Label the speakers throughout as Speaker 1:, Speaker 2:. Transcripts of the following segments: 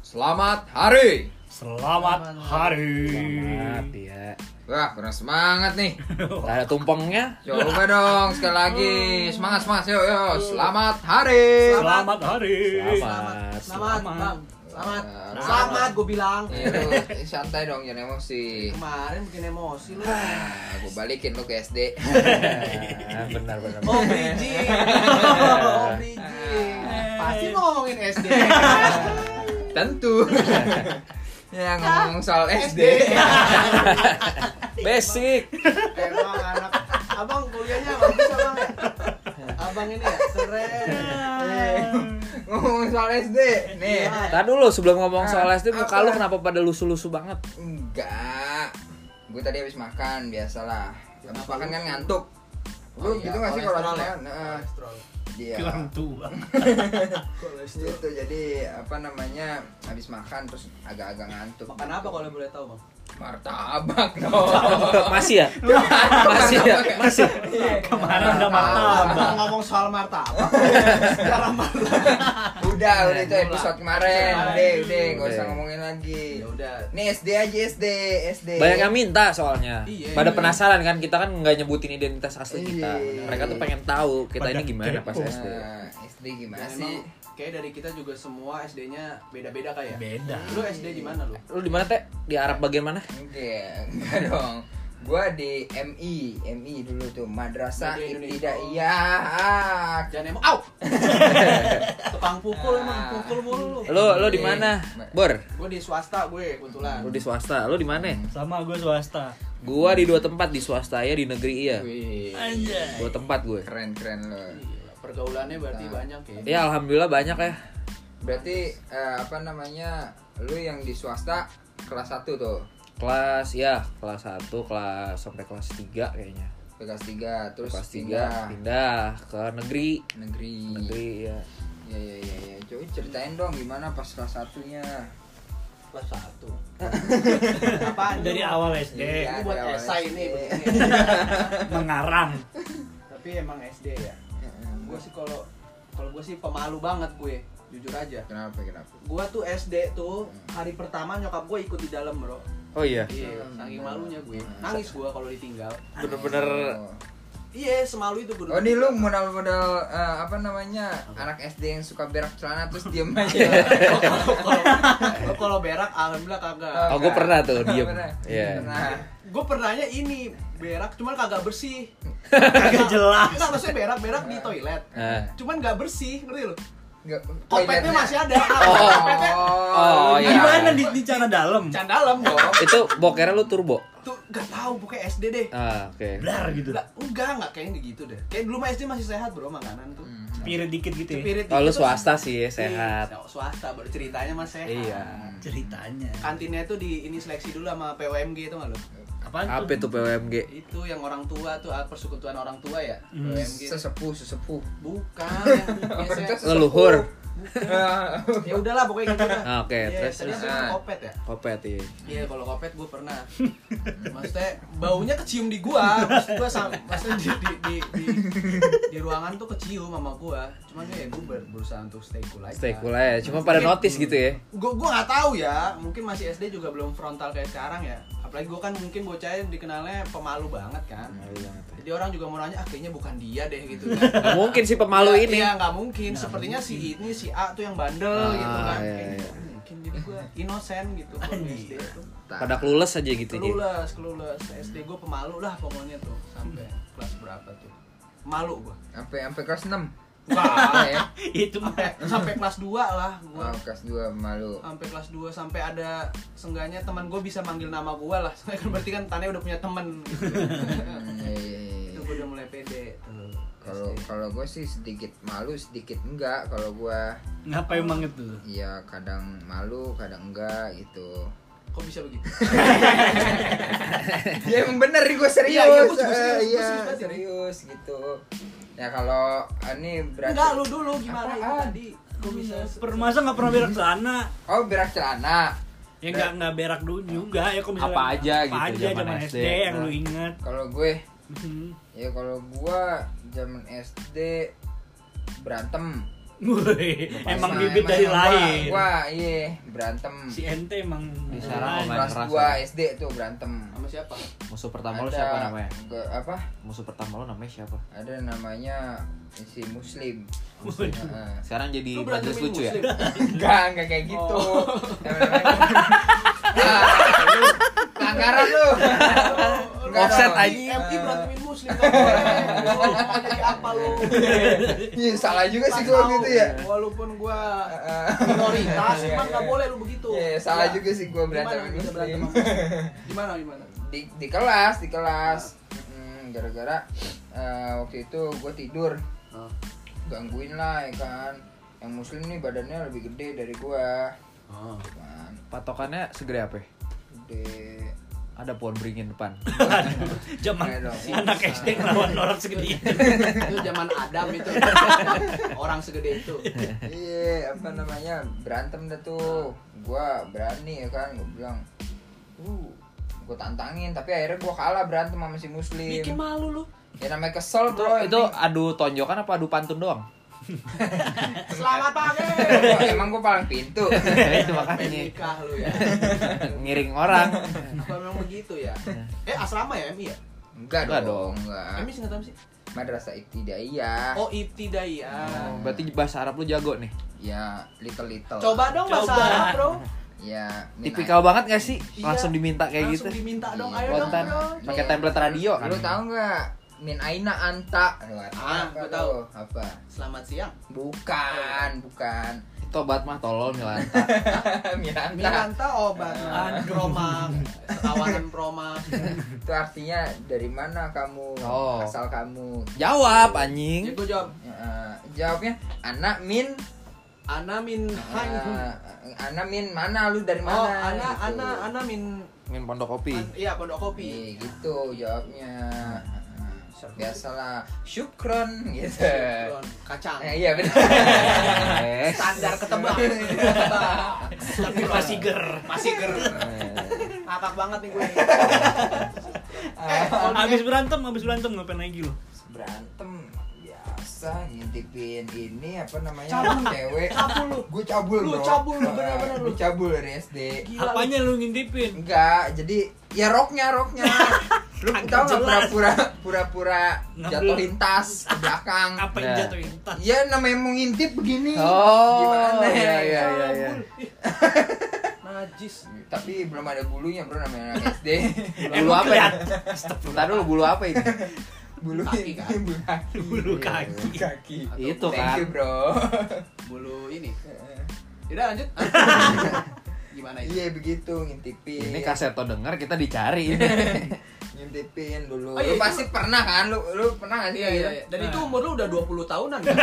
Speaker 1: Selamat hari.
Speaker 2: Selamat hari.
Speaker 3: Selamat ya.
Speaker 1: Wah, kurang semangat nih.
Speaker 3: Gak ada tumpengnya.
Speaker 1: Coba dong sekali lagi.
Speaker 4: Oh.
Speaker 1: Semangat, semangat. Yuk, yuk. Selamat hari.
Speaker 2: Selamat hari.
Speaker 3: Selamat.
Speaker 4: Selamat, Bang. Selamat.
Speaker 1: Selamat. Iya.
Speaker 4: Selamat gue bilang.
Speaker 1: Yuk, santai dong jangan emosi.
Speaker 4: Kemarin bikin emosi lu.
Speaker 1: Nah, gue balikin lu ke SD.
Speaker 3: Ah, benar benar.
Speaker 4: Oh, bridging. Oh, bridging. Pasti ngomongin Eh, SD.
Speaker 1: Tentu. ya ngomong soal SD.
Speaker 3: Basic.
Speaker 4: Emang anak Abang kuliahnya bagus Abang ya? Abang ini ya keren.
Speaker 1: ngomong soal SD. Nih.
Speaker 4: Iya.
Speaker 3: Tadi dulu sebelum ngomong soal SD muka lu kenapa pada lusu-lusu banget?
Speaker 1: Enggak. Gue tadi habis makan biasalah. Habis
Speaker 4: Kenapa
Speaker 1: makan
Speaker 4: lu?
Speaker 1: kan ngantuk. Lu
Speaker 4: Oh, iya,
Speaker 1: gitu gak sih kalau habis
Speaker 4: kolesterol ya?
Speaker 1: makan? Heeh.
Speaker 4: Kolesterol.
Speaker 1: Iya.
Speaker 2: Kilang tua.
Speaker 4: Kolesterol.
Speaker 1: itu jadi apa namanya habis makan terus agak-agak ngantuk
Speaker 4: Makan apa kalau boleh tahu, Bang?
Speaker 1: martabak dong
Speaker 3: Masih ya? Masih ya? Masih.
Speaker 2: Kemarin udah martabak.
Speaker 4: Abang Ah, ngomong soal martabak. Sejarah martabak.
Speaker 1: udah udah itu episode kemarin
Speaker 4: Kemarin.
Speaker 1: udah udah gak usah
Speaker 3: Udah.
Speaker 1: ngomongin lagi
Speaker 4: Ya udah.
Speaker 1: ini SD aja SD SD
Speaker 3: Banyak yang minta soalnya.
Speaker 4: Iya.
Speaker 3: Pada penasaran kan kita kan nggak nyebutin identitas asli kita.
Speaker 1: Iya.
Speaker 3: Mereka tuh pengen tahu kita ini
Speaker 2: Pada
Speaker 3: gimana pas
Speaker 2: kepo.
Speaker 3: SD.
Speaker 1: Nah, SD gimana
Speaker 4: Dan
Speaker 1: sih
Speaker 4: emang kayak dari kita juga semua SD-nya beda-beda kayak. ya?
Speaker 2: Beda.
Speaker 4: Lu SD di mana lu?
Speaker 3: Lu di mana teh? Di Arab bagian mana?
Speaker 1: enggak enggak dong gua di MI MI dulu tuh madrasah
Speaker 4: Media Indonesia.
Speaker 1: ibtidaiyah
Speaker 4: Jangan emang, au! Tukang pukul emang, pukul mulu lu.
Speaker 3: Lu lu di mana? Bor.
Speaker 4: Gue di swasta gue kebetulan.
Speaker 3: Lu di swasta. Lu di mana?
Speaker 2: Sama gue swasta.
Speaker 3: Gua di dua tempat di swasta ya di negeri iya.
Speaker 1: Wih,
Speaker 2: Anjay.
Speaker 3: Dua tempat gue.
Speaker 1: keren keren lo
Speaker 4: Gila, Pergaulannya berarti
Speaker 1: Nah.
Speaker 4: banyak ya.
Speaker 1: Iya.
Speaker 3: Ya alhamdulillah banyak ya.
Speaker 1: berarti eh, apa namanya lu yang di swasta kelas 1 tuh
Speaker 3: Kelas ya, kelas 1, kelas sampai kelas 3 kayaknya.
Speaker 1: kelas 3 terus
Speaker 3: kelas 3
Speaker 1: pindah Iya.
Speaker 3: pindah, ke negeri.
Speaker 1: negeri
Speaker 3: Negeri ya.
Speaker 1: ya ya ya ya coba ceritain dong gimana pas kelas satunya
Speaker 4: Kelas satu. Apaan? lu?
Speaker 2: Dari awal SD
Speaker 1: Iya.
Speaker 4: Ini buat
Speaker 1: Dari awal
Speaker 4: esai
Speaker 1: SD.
Speaker 4: nih begini.
Speaker 2: mengarang.
Speaker 4: Tapi emang SD ya. Gue sih kalau kalau gue sih pemalu banget gue, jujur aja.
Speaker 1: kenapa kenapa
Speaker 4: Gue tuh SD tuh hari pertama nyokap gue ikut di dalam bro.
Speaker 3: Oh iya.
Speaker 4: Iya,
Speaker 1: Hmm.
Speaker 4: saking malunya gue. Nangis gue kalau ditinggal.
Speaker 3: Bener-bener
Speaker 1: oh,
Speaker 4: Iya, semalu itu gue.
Speaker 1: oh ini lu modal modal eh, apa namanya anak SD yang suka berak celana terus diem aja
Speaker 3: Iya.
Speaker 4: Gue kalau berak alhamdulillah kagak.
Speaker 1: Ah.
Speaker 3: Oh, gue pernah tuh
Speaker 1: Pernah,
Speaker 3: diem.
Speaker 1: pernah.
Speaker 3: Iya.
Speaker 1: pernah
Speaker 4: gue pernahnya ini berak cuman kagak bersih
Speaker 2: Kagak jelas.
Speaker 4: enggak maksudnya berak berak di toilet
Speaker 3: Nah.
Speaker 4: cuman gak bersih ngerti lo
Speaker 1: Nggak, toiletnya.
Speaker 4: kopetnya masih ada
Speaker 3: Oh.
Speaker 4: kopetnya
Speaker 3: Oh, iya.
Speaker 2: Gimana di, di cara dalam?
Speaker 4: can dalam dong
Speaker 3: Itu bokernya lu turbo.
Speaker 4: tuh gak tahu bukan SD deh
Speaker 3: Ah, oke.
Speaker 2: Blar gitu.
Speaker 4: Nggak, enggak enggak kayaknya gitu deh kayak dulu mah SD masih sehat bro makanan tuh
Speaker 1: Hmm.
Speaker 2: Pirit dikit gitu ya.
Speaker 4: Cepirit
Speaker 3: Oh,
Speaker 4: dikit
Speaker 3: lu
Speaker 4: tuh
Speaker 3: swasta sih ya,
Speaker 4: sehat.
Speaker 3: sehat.
Speaker 4: Iya, swasta baru ceritanya mah sehat
Speaker 3: Iya.
Speaker 2: Ceritanya.
Speaker 4: kantinnya tuh di ini seleksi dulu sama POMG itu nggak lo
Speaker 2: Apaan
Speaker 3: Apa
Speaker 2: tuh?
Speaker 3: itu PWMG?
Speaker 4: itu yang orang tua tuh ah, persekutuan orang tua ya
Speaker 2: Hmm.
Speaker 3: Iya,
Speaker 4: POMG
Speaker 1: sesepuh sesepuh
Speaker 4: bukan yang biasanya-
Speaker 1: Sesepuh.
Speaker 3: Leluhur.
Speaker 4: ya udahlah pokoknya gitu dah.
Speaker 3: Ah, oke,
Speaker 4: Iya,
Speaker 3: terus,
Speaker 4: tadi
Speaker 1: terus.
Speaker 4: apa yang kopet ya
Speaker 3: Kopet iya.
Speaker 4: iya kalau kopet gue pernah maksudnya baunya kecium di gua maksud gua sama maksudnya di di, di, di, di ruangan tuh kecium sama gua cuman ya gue berusaha untuk stay cool aja
Speaker 3: Stay cool aja. Cuma pada notice gitu ya.
Speaker 4: gue gue nggak tahu ya mungkin masih SD juga belum frontal kayak sekarang ya apalagi gue kan mungkin bocahnya dikenalnya pemalu banget kan
Speaker 3: Iya.
Speaker 4: jadi orang juga mau nanya ah kayaknya bukan dia deh gitu kan
Speaker 3: Nggak Mungkin si pemalu ini.
Speaker 4: ya nggak mungkin sepertinya si ini si A tuh yang bandel
Speaker 3: Ah,
Speaker 4: gitu kan
Speaker 3: iya,
Speaker 4: Kayaknya
Speaker 3: iya.
Speaker 4: nggak mungkin jadi gue innocent gitu kalau di SD tuh
Speaker 3: Pada clueless aja gitu ya.
Speaker 4: kelules kelules SD gue pemalu lah pokoknya tuh sampai kelas berapa tuh malu gue
Speaker 1: sampai sampai kelas 6
Speaker 4: Wah,
Speaker 1: ya
Speaker 2: Itu mah.
Speaker 4: sampai, sampai kelas 2 lah gue
Speaker 1: Oh, kelas 2 malu
Speaker 4: sampai kelas 2 sampai ada sengganya teman gue bisa manggil nama gue lah Soalnya kan berarti kan Tane udah punya temen gitu.
Speaker 1: Hmm, iya, iya, iya.
Speaker 4: itu gue udah mulai pede tuh
Speaker 1: kalau
Speaker 4: SD.
Speaker 1: kalau gue sih sedikit malu sedikit enggak kalau gue
Speaker 2: Ngapa emang itu?
Speaker 1: ya kadang malu kadang enggak gitu
Speaker 4: kok bisa begitu
Speaker 1: ya emang bener gue serius
Speaker 4: Iya, iya, gua juga
Speaker 1: Eh,
Speaker 4: serius, gua
Speaker 1: iya,
Speaker 4: serius banget,
Speaker 1: serius gitu ya kalau eh, ini berarti
Speaker 4: enggak lu dulu gimana itu
Speaker 1: Apaan?
Speaker 4: tadi kok bisa
Speaker 2: Per masa nggak pernah berak celana?
Speaker 1: oh berak celana
Speaker 2: Ya nggak nggak berak dulu juga ya kok misalnya
Speaker 3: Apa aja
Speaker 2: apa
Speaker 3: gitu,
Speaker 2: aja
Speaker 3: zaman Nah.
Speaker 2: zaman
Speaker 3: SD.
Speaker 2: SD, yang lu inget.
Speaker 1: kalau gue
Speaker 2: Hmm.
Speaker 1: ya kalau gue zaman SD berantem
Speaker 2: Wih, emang
Speaker 1: Sama-
Speaker 2: bibit
Speaker 1: emang
Speaker 2: dari
Speaker 1: yang
Speaker 2: lain.
Speaker 1: gua, gua iya berantem
Speaker 2: Si NT emang
Speaker 3: Di
Speaker 2: dari lain.
Speaker 3: sarang Main
Speaker 1: Nah, kelas
Speaker 3: keras
Speaker 1: dua
Speaker 3: ya?
Speaker 1: SD tuh berantem
Speaker 4: sama siapa?
Speaker 3: Musuh pertama lo siapa
Speaker 1: Ada-
Speaker 3: namanya?
Speaker 1: gua- apa
Speaker 3: Musuh pertama lo namanya siapa?
Speaker 1: ada namanya si muslim Heeh.
Speaker 3: Sekarang jadi
Speaker 4: Lu
Speaker 3: majelis
Speaker 4: berantemin
Speaker 3: lucu ya?
Speaker 4: muslim.
Speaker 1: enggak enggak kayak gitu
Speaker 4: Oh.
Speaker 1: Ah, Anggaran lu Enggak
Speaker 3: Offset
Speaker 1: dong.
Speaker 3: anjing.
Speaker 4: MI berantemin muslim kan. Lu mau jadi apa lu?
Speaker 1: Iya salah juga sih
Speaker 4: Kan
Speaker 1: gua
Speaker 4: tahu,
Speaker 1: gitu ya
Speaker 4: Walaupun gua
Speaker 1: Heeh.
Speaker 4: minoritas,
Speaker 1: Iya,
Speaker 4: emang
Speaker 1: iya.
Speaker 4: nggak boleh lu begitu.
Speaker 1: Iya, salah
Speaker 4: Ya.
Speaker 1: juga sih gua berantem
Speaker 4: Gimana bisa berantem
Speaker 1: muslim.
Speaker 4: sama muslim? Gimana gimana?
Speaker 1: di, di kelas di kelas Mm, gara-gara eh, waktu itu gue tidur gangguin lah ya kan yang muslim nih badannya lebih gede dari gua
Speaker 3: Oh.
Speaker 1: kan
Speaker 3: Patokannya segede apa? ya?
Speaker 1: gede
Speaker 3: Ada pohon beringin depan.
Speaker 2: Zaman
Speaker 1: Ayo dong.
Speaker 2: anak SD ngelawan orang segede itu.
Speaker 4: Itu zaman Adam itu. Orang segede itu.
Speaker 1: iya apa namanya berantem dah tuh gua berani ya kan gue bilang uh gue tantangin tapi akhirnya gua kalah berantem sama si muslim
Speaker 2: Bikin malu lu.
Speaker 1: ya namanya kesel
Speaker 3: itu,
Speaker 1: bro yang
Speaker 3: itu adu tonjokan apa adu pantun doang?
Speaker 4: Selamat pagi.
Speaker 1: penting- Wah, emang gua paling pintu
Speaker 3: Ya, itu
Speaker 4: Pengen
Speaker 3: makanya
Speaker 4: nikah lu ya.
Speaker 3: ngiring orang.
Speaker 4: Apa memang begitu ya? Eh asrama ya MI ya?
Speaker 1: enggak
Speaker 3: Enggak
Speaker 1: dong
Speaker 3: dong.
Speaker 1: enggak
Speaker 4: MI singkatan apa sih?
Speaker 1: madrasah ibtidaiyah
Speaker 4: Oh ibtidaiyah.
Speaker 3: Berarti bahasa Arab lu jago nih.
Speaker 1: ya little little
Speaker 4: Coba dong bahasa
Speaker 2: Coba.
Speaker 4: Arab, Bro.
Speaker 1: ya min-
Speaker 3: Tipikal banget gak sih?
Speaker 4: Iya.
Speaker 3: Langsung diminta kayak
Speaker 4: Langsung
Speaker 3: gitu.
Speaker 4: diminta dong,
Speaker 1: Iya,
Speaker 4: ayo dong,
Speaker 3: Konten
Speaker 4: Bro.
Speaker 3: pakai
Speaker 1: Iya.
Speaker 3: template radio kan.
Speaker 1: lu tahu nggak min aina anta Aduh, artinya
Speaker 4: Ah,
Speaker 1: apa
Speaker 4: gua
Speaker 1: lu?
Speaker 4: tahu.
Speaker 1: apa
Speaker 4: Selamat siang.
Speaker 1: bukan bukan
Speaker 3: Tobat mah tolol Milanta.
Speaker 1: min anta
Speaker 4: Milanta obat
Speaker 1: Ah.
Speaker 4: promak, sekawanan promak.
Speaker 1: itu artinya dari mana kamu
Speaker 3: Oh.
Speaker 1: asal kamu
Speaker 3: Jawab
Speaker 4: Jadi
Speaker 3: anjing.
Speaker 4: gue jawab,
Speaker 1: Ya, eh, jawabnya anak min
Speaker 4: Ana min han.
Speaker 1: eh, anak min mana lu dari mana
Speaker 4: Oh, Ana,
Speaker 1: Gitu.
Speaker 4: Ana, Ana min.
Speaker 3: Min pondok kopi.
Speaker 4: an- Iya, pondok
Speaker 1: Iya,
Speaker 4: kopi.
Speaker 1: gitu jawabnya Eh, biasalah syukron gitu
Speaker 4: Syukron, Kacang.
Speaker 1: Eh, iya benar
Speaker 3: Eh,
Speaker 4: Standar ketebak. ketebak.
Speaker 2: Tapi masih ger.
Speaker 4: Masih ger. Ngakak banget nih gue. eh, kalau dia-
Speaker 2: Abis berantem, abis berantem ngapain lagi lu?
Speaker 1: berantem biasa ngintipin ini apa namanya
Speaker 4: Cabul.
Speaker 1: cewek
Speaker 4: Cabul lu.
Speaker 1: gue cabul
Speaker 4: Lu
Speaker 1: bro.
Speaker 4: cabul lu,
Speaker 1: Nah,
Speaker 4: bener-bener lu.
Speaker 1: gua cabul dari SD
Speaker 4: Gila,
Speaker 2: Apanya lu ngintipin?
Speaker 1: enggak jadi ya roknya roknya lu
Speaker 2: Kagak
Speaker 1: tau nggak
Speaker 2: jelas.
Speaker 1: pura-pura pura-pura
Speaker 2: Ngebul.
Speaker 1: jatuhin tas ke belakang
Speaker 2: Apa yang
Speaker 3: Nah.
Speaker 2: jatuhin? Tas.
Speaker 1: ya namanya mau ngintip begini
Speaker 3: Oh,
Speaker 1: gimana
Speaker 3: iya iya iya iya.
Speaker 4: Najis.
Speaker 1: tapi belum ada bulunya bro namanya anak SD
Speaker 3: Bulu apa ya? Entar dulu bulu apa itu?
Speaker 1: bulu
Speaker 4: Kaki, kan?
Speaker 1: bulu kaki
Speaker 2: Bulu kaki.
Speaker 1: kaki
Speaker 3: Itu
Speaker 1: thank you
Speaker 3: kan.
Speaker 1: bro
Speaker 4: Bulu ini. Udah lanjut. Gimana itu?
Speaker 1: iya begitu ngintipin
Speaker 3: Ini kaseto denger kita dicari ini.
Speaker 1: ngintipin dulu.
Speaker 4: Oh,
Speaker 1: lu
Speaker 4: iya, itu-
Speaker 1: pasti pernah kan? Lu lu pernah gak sih?
Speaker 4: Iya, iya, iya. Dan itu umur lu udah 20 tahunan kan?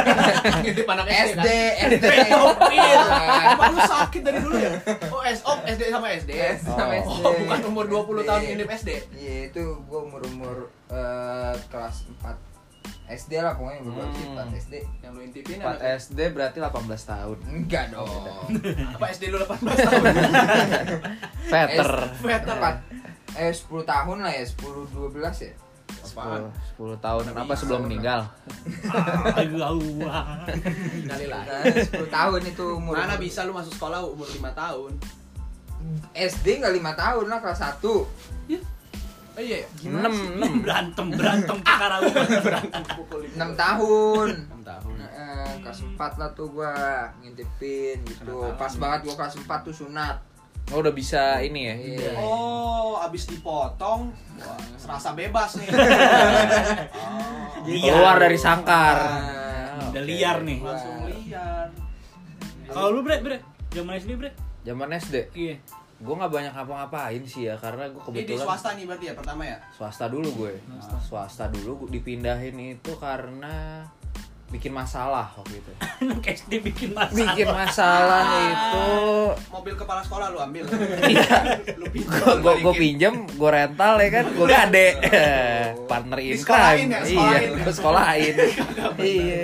Speaker 4: Ngintip anak kan?
Speaker 1: SD, SD.
Speaker 4: Iya, Pedofil.
Speaker 1: Bukan.
Speaker 4: Emang lu sakit dari dulu ya? Oh, S oh, SD sama SD.
Speaker 1: Yes, iya. sama
Speaker 3: Oh.
Speaker 1: SD.
Speaker 4: Oh, bukan umur 20 tahun
Speaker 1: SD.
Speaker 4: ngintip SD.
Speaker 1: Iya, itu gua umur-umur eh, kelas 4 SD lah pokoknya gua
Speaker 3: Hmm.
Speaker 1: hmm. 4 SD.
Speaker 4: Yang lu intipin
Speaker 3: 4
Speaker 4: anak
Speaker 3: SD berarti 18 tahun.
Speaker 1: Enggak dong.
Speaker 4: apa SD lu 18 tahun?
Speaker 3: Veter.
Speaker 4: Veter.
Speaker 1: Empat- eh 10 tahun lah ya, 10 12 ya.
Speaker 4: Apaan?
Speaker 3: 10 tahun apa sebelum meninggal?
Speaker 2: Ah, gua.
Speaker 4: Kali lah.
Speaker 1: Udah 10 Nah, tahun itu umur.
Speaker 4: Mana bisa lu masuk sekolah umur 5 tahun?
Speaker 1: SD enggak 5 tahun lah kelas 1.
Speaker 4: Oh iya, iya.
Speaker 3: 6 6
Speaker 2: Berantem, berantem perkara lu.
Speaker 4: pukul
Speaker 1: 6 tahun.
Speaker 3: 6 tahun.
Speaker 1: Heeh, kelas 4 lah tuh gua ngintipin gitu. Pas banget gua kelas 4 tuh sunat.
Speaker 3: Oh, udah bisa ini ya.
Speaker 1: Iya.
Speaker 4: Oh, abis dipotong, wah, serasa bebas nih.
Speaker 2: Iya.
Speaker 3: Keluar dari sangkar.
Speaker 1: Ah,
Speaker 2: Udah
Speaker 1: oke.
Speaker 2: liar nih.
Speaker 4: Oh, langsung liar.
Speaker 2: Kalau lu bre, bre, zaman SD bre,
Speaker 3: Zaman SD.
Speaker 2: iya.
Speaker 3: Gue nggak banyak ngapa-ngapain sih ya karena gue
Speaker 4: Ini di
Speaker 3: kebetulan
Speaker 4: swasta nih berarti ya pertama ya?
Speaker 3: swasta dulu gue swasta. dulu gue dipindahin itu karena bikin masalah waktu itu
Speaker 2: Anak SD bikin masalah.
Speaker 3: bikin masalah itu
Speaker 4: Mobil kepala sekolah lu ambil. lu
Speaker 3: gue
Speaker 4: pinjam.
Speaker 3: gue pinjem gue rental ya kan gue gade partner in
Speaker 4: Disekolahin
Speaker 3: crime
Speaker 4: ya,
Speaker 3: iya
Speaker 4: sekolahin ya.
Speaker 3: gue sekolahin iya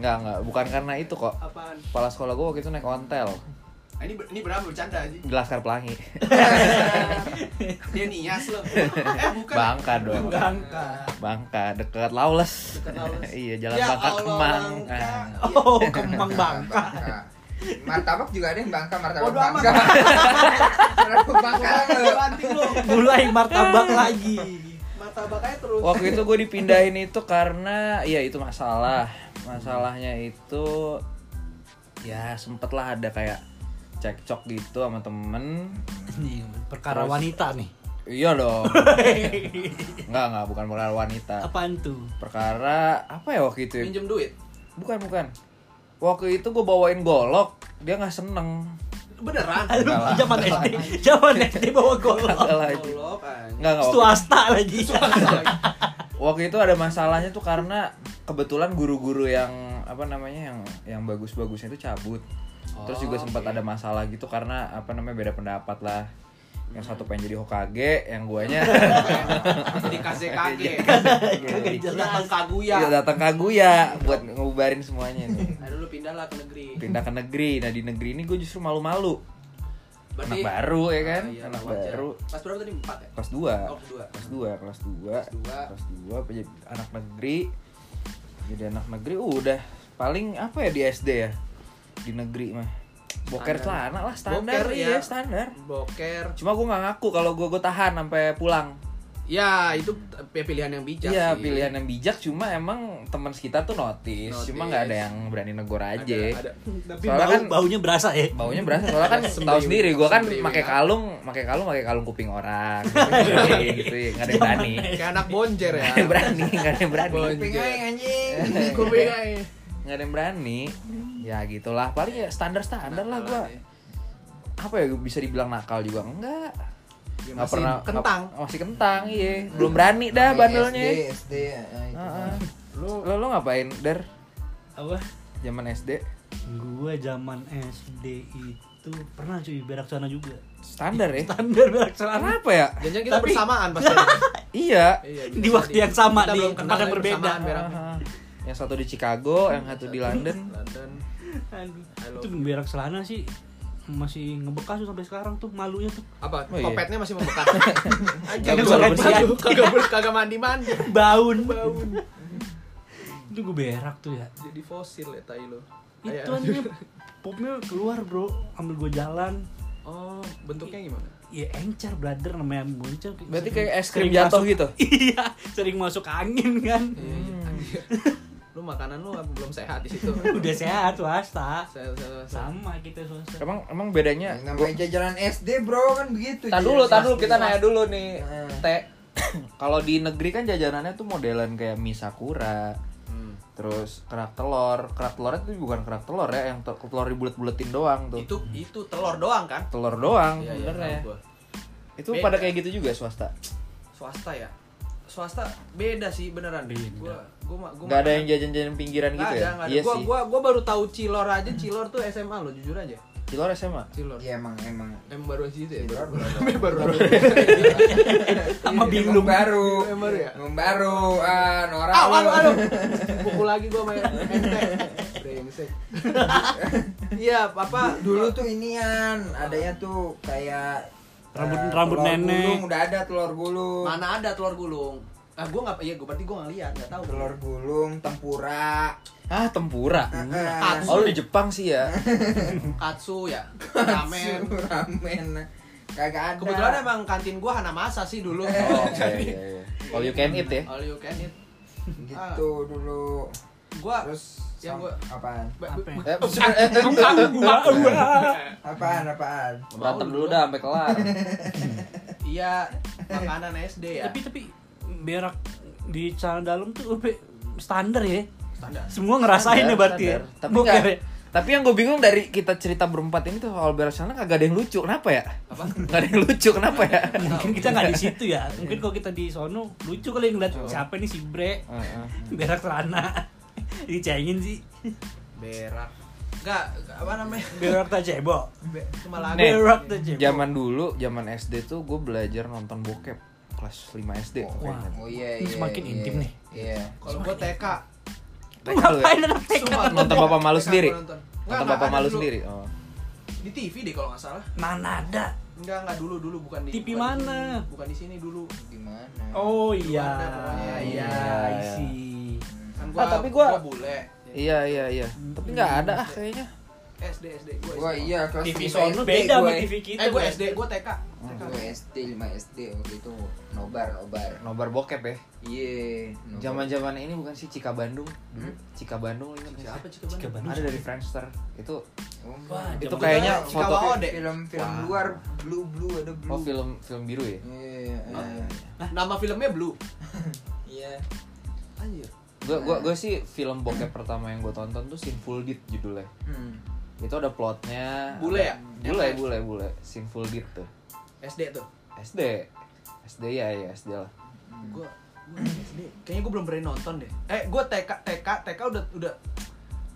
Speaker 3: nggak nggak bukan karena itu kok
Speaker 4: Apaan?
Speaker 3: kepala sekolah gue waktu itu naik ontel
Speaker 4: Ah, Ini ini berapa bercanda aja?
Speaker 3: Di Laskar Pelangi.
Speaker 4: Dia nias loh. Eh bukan.
Speaker 3: Bangka dong.
Speaker 4: Bangka.
Speaker 3: Bangka dekat Laules.
Speaker 4: Dekat Laules.
Speaker 3: iya, jalan
Speaker 4: Ya
Speaker 3: Bangka
Speaker 4: Allah,
Speaker 3: Kemang.
Speaker 4: Bangka.
Speaker 3: Ah.
Speaker 2: Oh, kembang bangka.
Speaker 1: Martabak juga ada yang bangka, martabak
Speaker 4: Bodo amat.
Speaker 1: bangka. Martabak bangka.
Speaker 4: Bukan, Iya, banting lo.
Speaker 2: Mulai martabak lagi.
Speaker 4: Mata bakanya terus.
Speaker 3: Waktu itu gue dipindahin itu karena ya itu masalah. Masalahnya itu ya sempet lah ada kayak cekcok gitu sama temen
Speaker 2: Ini perkara wanita nih.
Speaker 3: iya dong nggak nggak bukan perkara wanita
Speaker 2: Apaan tuh?
Speaker 3: perkara apa ya waktu itu ya?
Speaker 4: Pinjem duit.
Speaker 3: bukan bukan waktu itu gue bawain golok dia nggak seneng
Speaker 4: Beneran.
Speaker 3: Enggak lah.
Speaker 2: Zaman SD, zaman SD bawa golok.
Speaker 3: Nggak lah itu.
Speaker 4: Golok anjing.
Speaker 3: nggak nggak waktu-
Speaker 2: Swasta lagi.
Speaker 3: waktu itu ada masalahnya tuh karena kebetulan guru-guru yang apa namanya yang yang bagus-bagusnya itu cabut terus
Speaker 2: Oh,
Speaker 3: juga sempat ada masalah gitu karena apa namanya beda pendapat lah yang satu pengen jadi Hokage yang guanya
Speaker 4: Jadi KZKG.
Speaker 2: Kagak jelas. Iya.
Speaker 4: Datang Kaguya.
Speaker 3: ya datang Kaguya buat ngubarin semuanya nih
Speaker 4: Aduh lu pindah lah ke negeri.
Speaker 3: pindah ke negeri nah di negeri ini gue justru malu-malu anak baru ya kan
Speaker 4: Ah, iya,
Speaker 3: anak
Speaker 4: wajar.
Speaker 3: baru
Speaker 4: Pas berapa tadi? 4 ya?
Speaker 3: kelas 2
Speaker 4: Oh, kelas dua.
Speaker 3: kelas 2 kelas 2
Speaker 4: dua.
Speaker 3: kelas 2 jadi anak negeri jadi anak negeri udah paling apa ya di SD ya di negeri mah boker
Speaker 4: Standar.
Speaker 3: celana lah standar
Speaker 4: Boker,
Speaker 3: iya
Speaker 4: ya.
Speaker 3: standar
Speaker 4: Boker.
Speaker 3: cuma gue nggak ngaku kalau gue gue tahan sampai pulang
Speaker 4: Ya, itu p- pilihan yang bijak
Speaker 3: iya
Speaker 4: sih.
Speaker 3: pilihan yang bijak cuma emang teman sekitar tuh notis,
Speaker 4: Notice.
Speaker 3: cuma nggak ada yang berani negor aja
Speaker 4: Ada, ada.
Speaker 2: Tapi
Speaker 3: Soalnya
Speaker 2: bau,
Speaker 3: kan-
Speaker 2: baunya berasa ya.
Speaker 3: baunya berasa soalnya kan tahu
Speaker 4: Sembriwing.
Speaker 3: sendiri gue kan
Speaker 4: Sembriwing,
Speaker 3: pakai
Speaker 4: ya.
Speaker 3: kalung pakai kalung pakai kalung kuping orang gitu, gitu ya nggak ada yang berani
Speaker 4: Kayak anak bonjer ya.
Speaker 3: nggak ada yang berani nggak ada yang berani
Speaker 1: Kuping aing anjing.
Speaker 4: Kuping aja.
Speaker 3: nggak ada yang berani ya gitulah paling ya standar standar lah gua apa ya bisa dibilang nakal juga enggak
Speaker 4: Ya,
Speaker 3: nggak
Speaker 4: masih kentang.
Speaker 3: nggak- masih kentang iya belum berani dah
Speaker 1: Masih
Speaker 3: bandelnya
Speaker 1: SD, SD ya, itu.
Speaker 3: Heeh.
Speaker 2: Lu
Speaker 3: lo lo ngapain der
Speaker 2: apa?
Speaker 3: zaman SD
Speaker 2: Gue zaman SD itu pernah cuy berak sana juga.
Speaker 3: standar ya
Speaker 2: Standar berak sana.
Speaker 3: kenapa ya
Speaker 4: Jangan kita
Speaker 2: Tapi-
Speaker 4: bersamaan gitu. pasti.
Speaker 3: iya
Speaker 4: Iya,
Speaker 2: Di
Speaker 4: bisa
Speaker 2: waktu
Speaker 4: di-
Speaker 2: yang sama,
Speaker 4: kita
Speaker 2: di
Speaker 4: belum
Speaker 2: tempat
Speaker 4: kenal
Speaker 2: yang
Speaker 4: lagi
Speaker 2: berbeda.
Speaker 4: bersamaan, berak.
Speaker 3: Heeh. yang satu di Chicago yang satu di London
Speaker 4: London.
Speaker 2: Aduh.
Speaker 4: Halo.
Speaker 2: Itu berak celana sih masih ngebekas tuh sampai sekarang tuh malunya tuh
Speaker 4: Apa?
Speaker 3: Oh, iya.
Speaker 4: Kopetnya masih membekas. Anjing,
Speaker 2: Kagak
Speaker 4: gua
Speaker 2: bersihan.
Speaker 4: bersih. Kagak ber- kagak mandi-mandi.
Speaker 2: baun baun itu gue berak tuh ya
Speaker 4: Jadi fosil ya tai lo.
Speaker 2: itu
Speaker 4: Ayo.
Speaker 2: anjingnya popnya keluar bro ambil gue jalan
Speaker 4: Oh, bentuknya gimana?
Speaker 2: ya encer brother namanya muncul
Speaker 3: Berarti kayak es krim jatuh gitu? Iya.
Speaker 2: iya sering masuk angin kan
Speaker 4: Iya, Lu makanan lu apa belum sehat di situ?
Speaker 2: udah sehat swasta
Speaker 4: Sehat, sehat, sehat.
Speaker 2: sama kita swasta
Speaker 3: emang emang bedanya
Speaker 1: Yang
Speaker 3: Gua-
Speaker 1: namanya jajanan SD bro kan begitu.
Speaker 3: Tahan
Speaker 1: Ji.
Speaker 3: dulu, tahan dulu
Speaker 1: Pasti.
Speaker 4: Iya,
Speaker 3: kita nanya dulu nih.
Speaker 1: Nah.
Speaker 3: Teh. Kalau di negeri kan jajanannya tuh modelan kayak mie sakura.
Speaker 4: Hmm.
Speaker 3: Terus kerak telur. Kerak telur itu bukan kerak telur ya, yang tel- telur dibulet-buletin doang tuh.
Speaker 4: Itu itu telur doang kan?
Speaker 3: Telur doang
Speaker 4: Iya, iya,
Speaker 3: sebenarnya.
Speaker 4: tahu gua.
Speaker 3: itu
Speaker 4: Beda.
Speaker 3: pada kayak gitu juga swasta.
Speaker 4: swasta ya swasta beda sih beneran
Speaker 2: Beda.
Speaker 4: gua gua ma- gua
Speaker 3: Gak ada yang jajan-jajan pinggiran
Speaker 4: gitu
Speaker 3: gitu
Speaker 4: ada,
Speaker 3: ya?
Speaker 4: nggak ada.
Speaker 3: Iya
Speaker 4: gua,
Speaker 3: sih.
Speaker 4: gua gua baru tahu cilor aja cilor tuh SMA lo jujur aja
Speaker 3: Telur ya SMA.
Speaker 4: cilor
Speaker 1: Iya emang emang.
Speaker 4: emang baru aja itu ya
Speaker 1: Cilor
Speaker 4: baru
Speaker 1: baru.
Speaker 4: baru baru
Speaker 3: iya,
Speaker 2: sama
Speaker 1: Emang
Speaker 2: bingung
Speaker 1: baru.
Speaker 4: Yang baru ya?
Speaker 1: Emang baru. Ah, Nora.
Speaker 4: aduh
Speaker 1: lu.
Speaker 4: aduh aduh pukul lagi gua main ente brengsek iya papa
Speaker 1: Dulu tuh inian, adanya tuh kayak
Speaker 2: Rambut-
Speaker 1: eh,
Speaker 2: rambut
Speaker 1: telur
Speaker 2: nenek.
Speaker 1: gulung, udah ada telur gulung.
Speaker 4: mana ada telur gulung ah gua nggak iya gua berarti gua nggak lihat nggak tahu
Speaker 1: Telur gulung, tempura.
Speaker 3: Ah, tempura.
Speaker 4: Nah.
Speaker 1: Heeh.
Speaker 2: Hmm.
Speaker 3: Oh, lu di Jepang sih ya.
Speaker 4: katsu ya ramen
Speaker 1: ramen. Kagak ada.
Speaker 4: kebetulan emang kantin gua Hanamasa sih dulu
Speaker 3: Oh, iya, iya, iya. All you can eat ya.
Speaker 4: all you can eat
Speaker 1: gitu
Speaker 2: Ah.
Speaker 1: dulu.
Speaker 4: gua
Speaker 1: Terus
Speaker 4: yang
Speaker 1: sam-
Speaker 4: gua-
Speaker 1: apaan?
Speaker 2: Apa?
Speaker 3: Eh, eh, eh,
Speaker 1: Apaan apaan?
Speaker 3: Berantem dulu dah sampai kelar.
Speaker 4: Iya, makanan SD
Speaker 3: Iya.
Speaker 4: ya.
Speaker 2: tapi tapi berak di celana dalam tuh Upe, standar ya
Speaker 4: standar.
Speaker 2: semua ngerasain ya
Speaker 3: Sadar,
Speaker 2: berarti ya
Speaker 3: sadar. Tapi
Speaker 2: Boker
Speaker 3: nggak-
Speaker 2: ya.
Speaker 3: tapi yang gue bingung dari kita cerita berempat ini tuh soal berak celana kagak ada yang lucu. Kenapa ya?
Speaker 4: Apa?
Speaker 3: Gak ada yang lucu kenapa ya?
Speaker 2: mungkin kita nggak di situ ya
Speaker 3: Iya.
Speaker 2: mungkin kalau kita di sono lucu kali ngeliat siapa nih si bre
Speaker 4: Iya,
Speaker 3: Heeh.
Speaker 2: berak celana dicengin sih
Speaker 4: Berak. Enggak, apa namanya?
Speaker 2: berak tak cebok
Speaker 4: Be cuma lagu.
Speaker 3: Nih.
Speaker 2: berak tak cebok
Speaker 3: Zaman dulu, zaman SD tuh gue belajar nonton bokep kelas 5 SD.
Speaker 1: Oh,
Speaker 2: Wah.
Speaker 1: oh iya
Speaker 2: Ini
Speaker 1: iya.
Speaker 2: semakin
Speaker 1: iya.
Speaker 2: intim nih.
Speaker 1: Iya.
Speaker 4: Kalau gua TK,
Speaker 2: ngapain anak TK
Speaker 3: ya.
Speaker 4: Sumpah,
Speaker 3: Nonton
Speaker 4: gua-
Speaker 3: bapak malu
Speaker 4: TK gua
Speaker 3: sendiri.
Speaker 4: nonton. Nggak,
Speaker 3: gitu Nonton
Speaker 4: nggak,
Speaker 3: bapak
Speaker 4: ada
Speaker 3: malu
Speaker 4: dulu.
Speaker 3: sendiri. Oh.
Speaker 4: di TV deh kalau nggak salah
Speaker 2: Mana ada?
Speaker 4: enggak enggak dulu dulu bukan di
Speaker 2: TV
Speaker 4: bukan di
Speaker 2: mana?
Speaker 4: sini. bukan di sini dulu
Speaker 1: Gimana?
Speaker 2: Oh iya.
Speaker 4: Luar dah pokoknya.
Speaker 2: Iya,
Speaker 3: Iya.
Speaker 2: isi.
Speaker 1: Hmm.
Speaker 4: kan
Speaker 3: Ah, tapi gua-
Speaker 4: bule
Speaker 3: Iya iya iya. Tapi nggak
Speaker 4: Hmm.
Speaker 3: ada ah kayaknya.
Speaker 4: SD SD gua
Speaker 1: Gua
Speaker 4: SD.
Speaker 1: iya kelas
Speaker 2: TV
Speaker 1: lima
Speaker 2: sono
Speaker 1: SD
Speaker 2: beda sama
Speaker 1: gue.
Speaker 2: TV kita.
Speaker 4: eh gua
Speaker 2: Bro.
Speaker 4: SD gua TK
Speaker 1: ya.
Speaker 3: Ah,
Speaker 1: Hmm, Gua SD 5 SD waktu itu nobar nobar.
Speaker 3: Nobar bokep ya.
Speaker 1: Iya. nobar.
Speaker 3: Zaman-zaman ini bukan sih Cika Bandung. Cika Bandung ini
Speaker 4: Hmm? siapa Cika
Speaker 2: Cika
Speaker 4: Bandung?
Speaker 2: Bandung.
Speaker 3: Ada dari Friendster. Itu
Speaker 1: Oh,
Speaker 2: Wah,
Speaker 1: enggak.
Speaker 3: itu
Speaker 2: Zaman
Speaker 3: kayaknya
Speaker 4: dulu
Speaker 3: foto
Speaker 4: Cikawao deh.
Speaker 1: film film
Speaker 3: Wah.
Speaker 1: luar blue blue ada blue.
Speaker 3: Oh film Oh. film biru ya.
Speaker 1: Iya. eh.
Speaker 4: nama filmnya Blue
Speaker 1: Iya.
Speaker 4: anjir
Speaker 3: Gue gua gua sih film bokep pertama yang gue tonton tuh Sinful Deed judulnya.
Speaker 1: Hmm.
Speaker 3: Itu ada plotnya.
Speaker 4: Bule ya?
Speaker 3: Bule bule bule. Sinful Deed tuh.
Speaker 4: SD tuh
Speaker 3: SD. SD ya ya SD lah.
Speaker 4: gua gua SD kayaknya gua belum berani nonton deh eh gua TK TK TK udah udah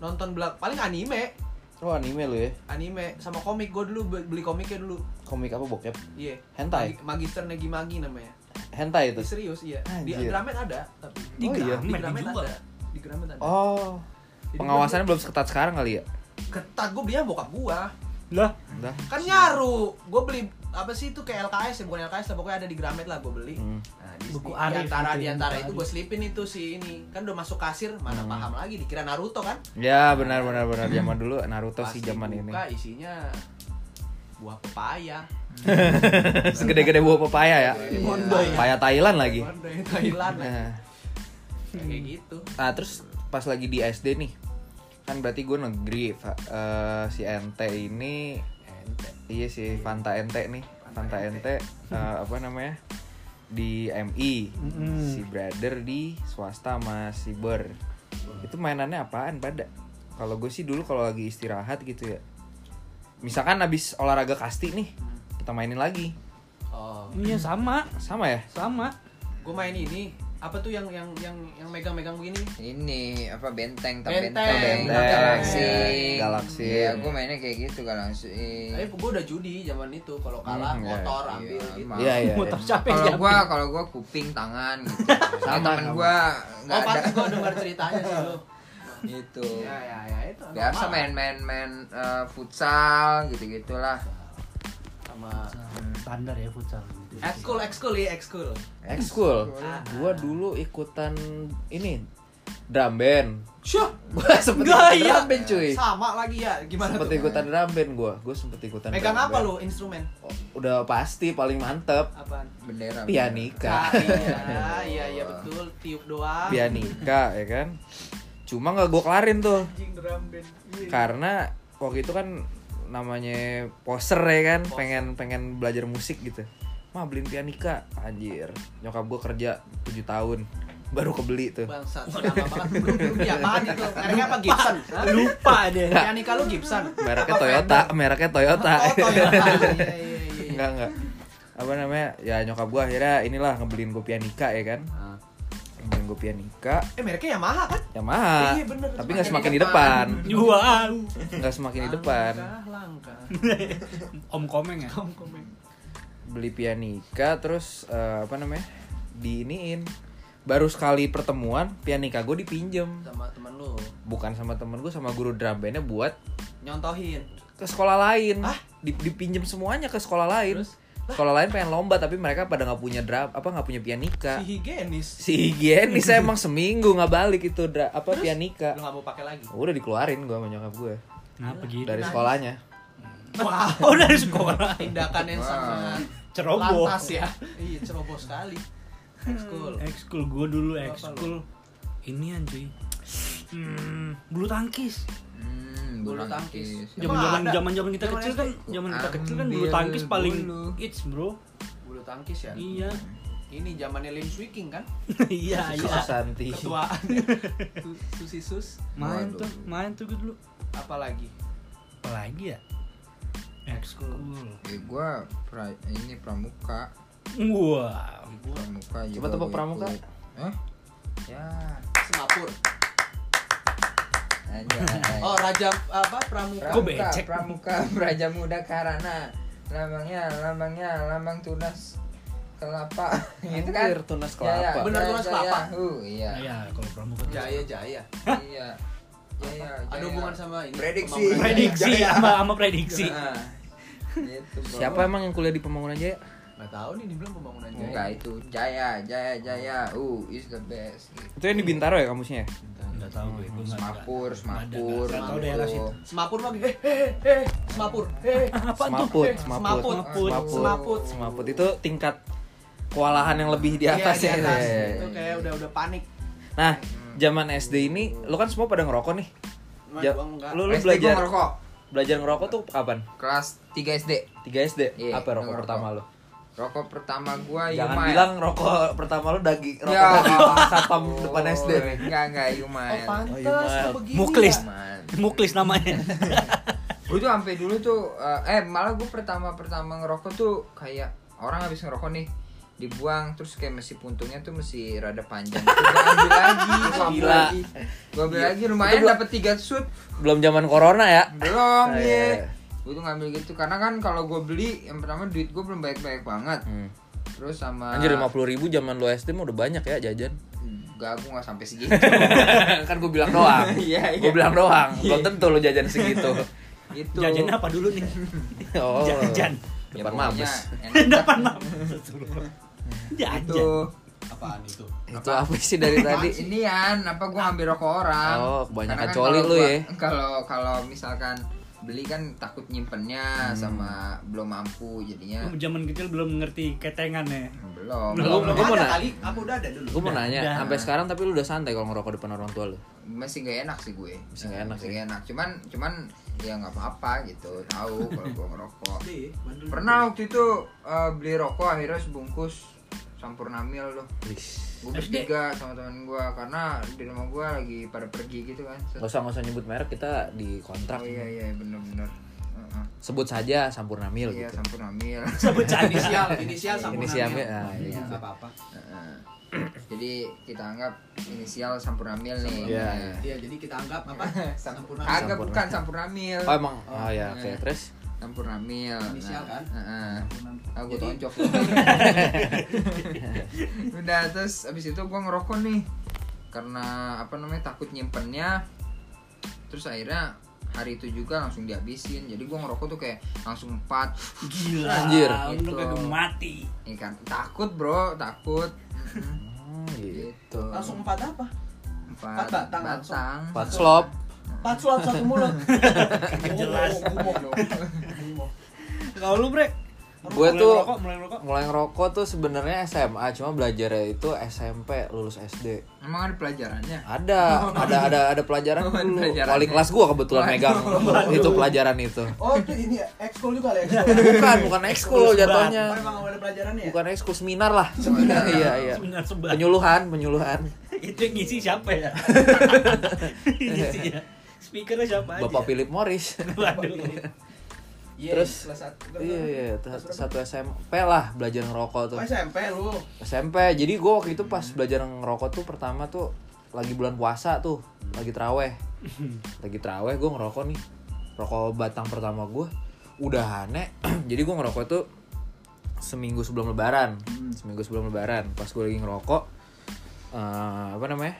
Speaker 4: nonton belak paling anime
Speaker 3: Oh anime lu ya.
Speaker 4: anime sama komik gua dulu be- beli komiknya dulu
Speaker 3: Komik apa bokep?
Speaker 4: iya
Speaker 3: Hentai?
Speaker 4: Magi- Magister Negi Magi namanya
Speaker 3: Hentai itu.
Speaker 4: Ini serius iya di
Speaker 3: Anjir.
Speaker 4: Gramet ada tapi
Speaker 2: Di
Speaker 3: Oh, iya.
Speaker 4: di
Speaker 2: Gramet
Speaker 4: Gramet
Speaker 2: dijual.
Speaker 4: ada di Gramet ada
Speaker 3: Oh. Pengawasannya belum seketat sekarang kali ya?
Speaker 4: ketat gua belinya bokap gua
Speaker 2: Lah,
Speaker 3: Udah.
Speaker 4: kan nyaru gue beli apa sih itu kayak LKS ya bukan LKS lah pokoknya ada di Gramet lah gue beli
Speaker 3: Hmm.
Speaker 4: nah, di,
Speaker 2: Buku
Speaker 4: di
Speaker 2: Arif
Speaker 4: antara
Speaker 2: gitu
Speaker 4: di
Speaker 2: ya,
Speaker 4: antara
Speaker 2: buku
Speaker 4: itu
Speaker 2: Arif.
Speaker 4: gue selipin itu si ini kan udah masuk kasir mana
Speaker 3: Hmm.
Speaker 4: paham lagi dikira Naruto kan
Speaker 3: Ya benar benar benar zaman dulu Naruto
Speaker 4: Pasti
Speaker 3: sih zaman ini.
Speaker 4: buka isinya buah pepaya
Speaker 3: Segede-gede buah pepaya kan. ya.
Speaker 1: Iya.
Speaker 3: Pepaya Thailand lagi.
Speaker 4: Dari Thailand lah.
Speaker 3: Nah,
Speaker 4: kayak gitu
Speaker 3: nah, terus pas lagi di SD nih. Kan berarti gue negeri Fa- eh, si NT ini iya si Fanta NT nih. Fanta NT eh, apa namanya? di MI,
Speaker 2: Mm-mm.
Speaker 3: si brother di swasta sama si Ber. Itu mainannya apaan pada? Kalau gue sih dulu kalau lagi istirahat gitu ya. Misalkan habis olahraga kasti nih, kita mainin lagi.
Speaker 4: oh
Speaker 2: iya sama,
Speaker 3: Sama ya?
Speaker 2: sama.
Speaker 4: gue main ini apa tuh yang yang yang yang megang-megang begini
Speaker 1: Ini apa benteng tak
Speaker 4: Benteng.
Speaker 1: benteng,
Speaker 4: Benteng.
Speaker 1: galaksi.
Speaker 3: Galaksi.
Speaker 1: Iya, gua mainnya kayak gitu galaksi.
Speaker 4: tapi gue udah judi zaman itu kalau kalah
Speaker 3: Hmm, iya.
Speaker 4: motor
Speaker 1: Iya,
Speaker 4: ambil gitu
Speaker 1: emang.
Speaker 3: Iya iya.
Speaker 2: Mau tau siapa yang
Speaker 1: Kalau
Speaker 2: siapa.
Speaker 1: gua kalau gua kuping tangan gitu. Sama temen gua
Speaker 4: Oh
Speaker 1: enggak
Speaker 4: pantas
Speaker 1: ada
Speaker 4: gue dengar ceritanya sih lu
Speaker 1: itu.
Speaker 4: Ya ya ya itu
Speaker 1: Biasa
Speaker 4: normal.
Speaker 1: main-main main eh, futsal gitu-gitulah. Hmm,
Speaker 4: sama
Speaker 2: Standar ya futsal.
Speaker 4: ekskul ekskul ya ekskul.
Speaker 3: Ekskul.
Speaker 4: Ah.
Speaker 3: Gua dulu ikutan ini drum band.
Speaker 4: Syah,
Speaker 3: Gua sempet
Speaker 4: Nggak,
Speaker 3: ikutan
Speaker 4: iya.
Speaker 3: drum band cuy.
Speaker 4: sama lagi ya gimana
Speaker 3: Sempet
Speaker 4: tuh?
Speaker 3: ikutan drum band gua. Gua sempet ikutan.
Speaker 4: Megang
Speaker 3: drum
Speaker 4: apa
Speaker 3: band.
Speaker 4: lu instrumen?
Speaker 3: Oh, Udah pasti paling mantep.
Speaker 4: Apaan?
Speaker 1: Bendera.
Speaker 4: Ah,
Speaker 3: Pianika.
Speaker 4: iya, iya, iya betul, tiup doang.
Speaker 3: Pianika ya kan. Cuma nggak gua kelarin tuh
Speaker 4: Anjing drum band. Iya.
Speaker 3: karena waktu itu kan namanya poser ya kan pengen pengen belajar musik gitu mah beliin pianika anjir nyokap gue kerja 7 tahun baru kebeli tuh
Speaker 4: Bangsat, nama banget. Belum belum di apaan itu? Mereknya apa Gibson? Hah?
Speaker 2: Lupa deh.
Speaker 4: Pianika lu Gibson.
Speaker 3: mereknya
Speaker 4: Apa
Speaker 3: Toyota
Speaker 4: Fender?
Speaker 3: mereknya Toyota
Speaker 4: Oh, Toyota. Iya, iya, iya, iya.
Speaker 3: enggak enggak apa namanya ya nyokap gue akhirnya inilah ngebeliin gue pianika ya kan
Speaker 4: Ah.
Speaker 3: ngebeliin gue pianika
Speaker 4: Eh mereknya Yamaha kan?
Speaker 3: Yamaha
Speaker 4: Iya, bener.
Speaker 3: tapi nggak semakin di depan
Speaker 2: Wow.
Speaker 3: nggak semakin di depan
Speaker 4: Langkah, langkah.
Speaker 2: Om Komeng ya.
Speaker 4: Kom- komen.
Speaker 3: beli pianika terus eh, apa namanya diiniin baru sekali pertemuan pianika gue dipinjem
Speaker 4: Sama teman lu
Speaker 3: bukan sama temen gue sama guru drum bandnya buat
Speaker 4: nyontohin.
Speaker 3: ke sekolah lain
Speaker 4: Hah?
Speaker 3: Dip- dipinjem semuanya ke sekolah lain
Speaker 4: Terus?
Speaker 3: sekolah lain pengen lomba tapi mereka pada nggak punya drum apa nggak punya pianika
Speaker 4: Si higienis.
Speaker 3: si higienis emang seminggu nggak balik itu dra- apa pianika
Speaker 4: Lu nggak mau pakai lagi.
Speaker 3: udah dikeluarin gue sama nyokap gue
Speaker 2: Ngapa gitu?
Speaker 3: dari sekolahnya
Speaker 4: Wah,
Speaker 2: Oh dari sekolah.
Speaker 4: tindakan yang sangat
Speaker 2: Ceroboh.
Speaker 4: lantas ya. Iya, ceroboh sekali.
Speaker 2: Hmm,
Speaker 4: Ekskul.
Speaker 2: Ekskul gue dulu
Speaker 4: Apa
Speaker 2: ekskul. Inian cuy. Hmm, bulu tangkis.
Speaker 1: Hmm,
Speaker 4: Bulu
Speaker 1: bulu
Speaker 4: tangkis.
Speaker 1: tangkis.
Speaker 4: Emang
Speaker 2: Zaman zaman
Speaker 4: ada?
Speaker 2: zaman zaman kita
Speaker 4: Zaman
Speaker 2: kecil
Speaker 4: SD?
Speaker 2: kan, zaman kita kecil kan bulu
Speaker 1: Ambil
Speaker 2: tangkis paling
Speaker 1: bulu.
Speaker 2: hits bro.
Speaker 4: Bulu tangkis ya.
Speaker 2: Iya,
Speaker 4: Ini zamannya Lim Swicking kan?
Speaker 2: iya iya.
Speaker 3: Susanti
Speaker 4: Ketuaan. Su- Susi sus
Speaker 2: Main
Speaker 1: Waduh.
Speaker 2: tuh, main tuh gue dulu.
Speaker 4: apalagi?
Speaker 2: Apalagi ya? Ekskul.
Speaker 1: Eh, gua pra- ini pramuka.
Speaker 2: Wah.
Speaker 1: Pramuka juga.
Speaker 3: Coba tebak
Speaker 1: gua
Speaker 3: pramuka.
Speaker 1: ikut. Hah? Ya.
Speaker 4: Singapura.
Speaker 1: Aja.
Speaker 4: Oh, Raja apa Pramuka.
Speaker 2: Kok becek?
Speaker 1: Pramuka Praja Muda Karana. Lambangnya, lambangnya, lambang tunas kelapa. gitu kan? ya,
Speaker 3: Anjir, tunas kelapa.
Speaker 4: Bener, tunas kelapa.
Speaker 1: Uh, iya.
Speaker 2: Nah, ya kalau pramuka tuh.
Speaker 4: Jaya Jaya.
Speaker 1: Iya. Ya, ya,
Speaker 4: Ada
Speaker 1: ya,
Speaker 4: hubungan
Speaker 1: ya.
Speaker 4: sama ini.
Speaker 1: Prediksi.
Speaker 4: pembangunan.
Speaker 2: prediksi
Speaker 1: Jangan,
Speaker 2: sama sama prediksi
Speaker 1: Nah, gitu, Bro.
Speaker 3: Siapa emang yang kuliah di pembangunan jaya?
Speaker 4: Nggak tahu nih dibilang pembangunan jaya.
Speaker 1: Enggak itu Jaya, Jaya, Jaya. Uh, is the best. Gitu.
Speaker 3: Itu yang di Bintaro ya kamusnya ya?
Speaker 2: nggak tahu gue gue nggak
Speaker 1: Semapur,
Speaker 2: nggak-
Speaker 1: semapur.
Speaker 2: nggak tahu daerah situ
Speaker 4: Semapur mah eh eh eh semapur. Eh.
Speaker 3: Semaput,
Speaker 4: Eh,
Speaker 3: semaput,
Speaker 4: semaput,
Speaker 3: semaput,
Speaker 4: semaput.
Speaker 3: semaput itu tingkat kewalahan yang lebih di atas
Speaker 4: Iya,
Speaker 3: ya.
Speaker 4: atas.
Speaker 3: Iya, iya.
Speaker 4: Itu kayak udah udah panik.
Speaker 3: Nah, zaman SD ini lo kan semua pada ngerokok nih.
Speaker 4: Cuma
Speaker 3: Ja-
Speaker 4: gua enggak.
Speaker 3: Ya. Lu, lu
Speaker 1: SD
Speaker 3: belajar
Speaker 1: gua ngerokok.
Speaker 3: belajar ngerokok tuh kapan?
Speaker 1: Kelas 3 SD.
Speaker 3: 3 SD.
Speaker 1: Iya,
Speaker 3: Apa rokok
Speaker 1: ngerokok. Iya,
Speaker 3: pertama lo?
Speaker 1: Rokok pertama gua
Speaker 3: Jangan
Speaker 1: Yumai.
Speaker 3: bilang rokok pertama lo daging rokok
Speaker 1: Ya.
Speaker 3: daging satpam depan
Speaker 1: Oh,
Speaker 3: SD nih.
Speaker 1: Enggak, enggak Yumai.
Speaker 3: Oh, iya, Mal.
Speaker 4: kok begini
Speaker 2: Muklis.
Speaker 4: ya?
Speaker 1: Yumai.
Speaker 2: muklis namanya
Speaker 1: gue tuh sampai dulu tuh uh, eh malah gue pertama pertama ngerokok tuh kayak orang habis ngerokok nih dibuang terus kayak mesin puntungnya tuh masih rada panjang Terus gua ambil lagi gua ambil
Speaker 3: Gila. Iya.
Speaker 1: lagi gue ambil lagi lumayan
Speaker 3: gua-
Speaker 1: dapat tiga shoot
Speaker 3: Belum zaman corona ya.
Speaker 1: belum
Speaker 3: Ah, iya, iya.
Speaker 1: ya gue tuh ngambil gitu karena kan kalau gue beli yang pertama duit gue belum banyak banyak banget
Speaker 3: Hmm.
Speaker 1: terus sama
Speaker 3: Anjir 50 ribu zaman lo SD mah udah banyak ya jajan.
Speaker 1: gak gue gak sampai segitu
Speaker 3: kan gue bilang doang.
Speaker 1: Iya, iya.
Speaker 3: Gue bilang doang. Belum tentu lo jajan segitu.
Speaker 1: gitu
Speaker 2: jajan apa dulu nih
Speaker 3: Oh.
Speaker 2: jajan
Speaker 1: Ya,
Speaker 3: Depan
Speaker 1: pokoknya
Speaker 3: mabes.
Speaker 1: enak dah.
Speaker 2: depan mampus
Speaker 1: itu
Speaker 2: jajan
Speaker 4: Apaan itu?
Speaker 3: Itu apa sih dari tadi?
Speaker 1: tadi inian apa gua ambil rokok orang
Speaker 3: Oh, kebanyakan
Speaker 1: Karena kan
Speaker 3: coli
Speaker 1: kalau
Speaker 3: lu
Speaker 1: gua-
Speaker 3: ya.
Speaker 1: kalau kalau misalkan beli kan takut nyimpennya
Speaker 3: Hmm.
Speaker 1: sama belum mampu jadinya
Speaker 2: Lu zaman kecil belum ngerti ketengan ya
Speaker 1: belum
Speaker 2: Belum,
Speaker 1: belum
Speaker 3: gua mau
Speaker 4: ada
Speaker 3: nanya.
Speaker 4: kali, apa udah ada dulu?
Speaker 3: Gue mau nanya,
Speaker 2: Udah.
Speaker 3: sampai sekarang tapi lu udah santai kalau ngerokok depan orang tua lu.
Speaker 1: masih gak enak sih gue
Speaker 3: Masih nggak enak ya?
Speaker 1: masih
Speaker 3: sih.
Speaker 1: nggak enak cuman cuman ya nggak apa-apa gitu tahu kalau gua ngerokok
Speaker 4: Iya, iya, bandel.
Speaker 1: pernah waktu itu eh, beli rokok akhirnya sebungkus sampurna mil loh gue bertiga sama teman gua karena di rumah gua lagi pada pergi gitu kan
Speaker 3: Gak usah gak usah nyebut merek kita di kontrak.
Speaker 1: oh iya iya bener-bener Heeh.
Speaker 3: Sebut saja Sampurna Mil
Speaker 1: iya
Speaker 3: gitu.
Speaker 1: sampurna mil
Speaker 2: sebut jadi
Speaker 4: Inisial, inisial sama
Speaker 3: Inisialnya,
Speaker 4: namanya.
Speaker 3: ah, iya,
Speaker 4: Iya,
Speaker 3: gitu.
Speaker 4: nggak apa-apa.
Speaker 1: Heeh. jadi kita anggap inisial sampurna mil nih
Speaker 3: Iya.
Speaker 1: Nah,
Speaker 4: Iya, jadi kita anggap apa?
Speaker 1: Sampurna
Speaker 4: Sampurna.
Speaker 1: Kagak
Speaker 3: Sampurna.
Speaker 1: bukan sampurna mil.
Speaker 3: Oh emang. Oh ya,
Speaker 1: Iya,
Speaker 3: oke. Terus
Speaker 1: Sampurna mil.
Speaker 4: Inisial kan?
Speaker 1: Nah, Heeh.
Speaker 4: Sampurna.
Speaker 1: Aku
Speaker 4: Jadi-
Speaker 1: toncok. Udah terus abis itu gua ngerokok nih. Karena apa namanya takut nyimpennya. Terus akhirnya hari itu juga langsung dihabisin. Jadi gua ngerokok tuh kayak langsung 4.
Speaker 2: gila
Speaker 3: Anjir.
Speaker 1: Gitu.
Speaker 2: untung kagak mati
Speaker 1: Ini kan takut, Bro, takut. Mm-mm.
Speaker 3: Hmm, gitu.
Speaker 1: gitu.
Speaker 4: Langsung empat apa?
Speaker 1: empat
Speaker 4: empat batang langsung.
Speaker 1: batang.
Speaker 3: Empat slop.
Speaker 4: Empat sulam satu mulut.
Speaker 2: Nggak jelas
Speaker 4: Gumoh.
Speaker 2: kalau lu bre
Speaker 3: Gue
Speaker 2: mulai
Speaker 3: tuh
Speaker 2: ngerokok, mulai ngerokok
Speaker 3: mulai ngerokok tuh sebenarnya SMA, cuma belajarnya itu SMP lulus SD.
Speaker 1: Emang ada pelajarannya?
Speaker 3: Ada, ada ada ada pelajaran
Speaker 1: Oh. Ada
Speaker 3: dulu.
Speaker 1: pelajaran. ya.
Speaker 3: Wali kelas gua kebetulan
Speaker 1: Waduh.
Speaker 3: megang itu pelajaran itu.
Speaker 4: Oh, itu ini ya, ekskul juga ada ekskul.
Speaker 3: Bukan, bukan ekskul
Speaker 4: Oh,
Speaker 3: jatuhnya.
Speaker 4: emang ada pelajarannya ya?
Speaker 3: Bukan ekskul seminar lah. Seminar iya iya.
Speaker 2: Seminar sebat.
Speaker 3: Penyuluhan, penyuluhan.
Speaker 2: itu yang ngisi siapa ya ngisinya speakernya siapa aja
Speaker 3: Bapak Philip Morris.
Speaker 2: waduh
Speaker 4: Iya,
Speaker 3: Terus-
Speaker 4: kelas satu. kelas
Speaker 3: Iya
Speaker 4: berapa?
Speaker 3: iya,
Speaker 4: Kelas
Speaker 3: satu
Speaker 4: berapa?
Speaker 3: satu SMP lah belajar ngerokok tuh.
Speaker 4: Oh, SMP lu.
Speaker 3: SMP. Jadi gua waktu itu pas belajar ngerokok tuh pertama tuh lagi bulan puasa tuh, lagi traweh. Lagi traweh gua ngerokok nih. Rokok batang pertama gua udah aneh. Jadi gua ngerokok tuh seminggu sebelum lebaran. Seminggu sebelum lebaran pas gua lagi ngerokok eh, apa namanya?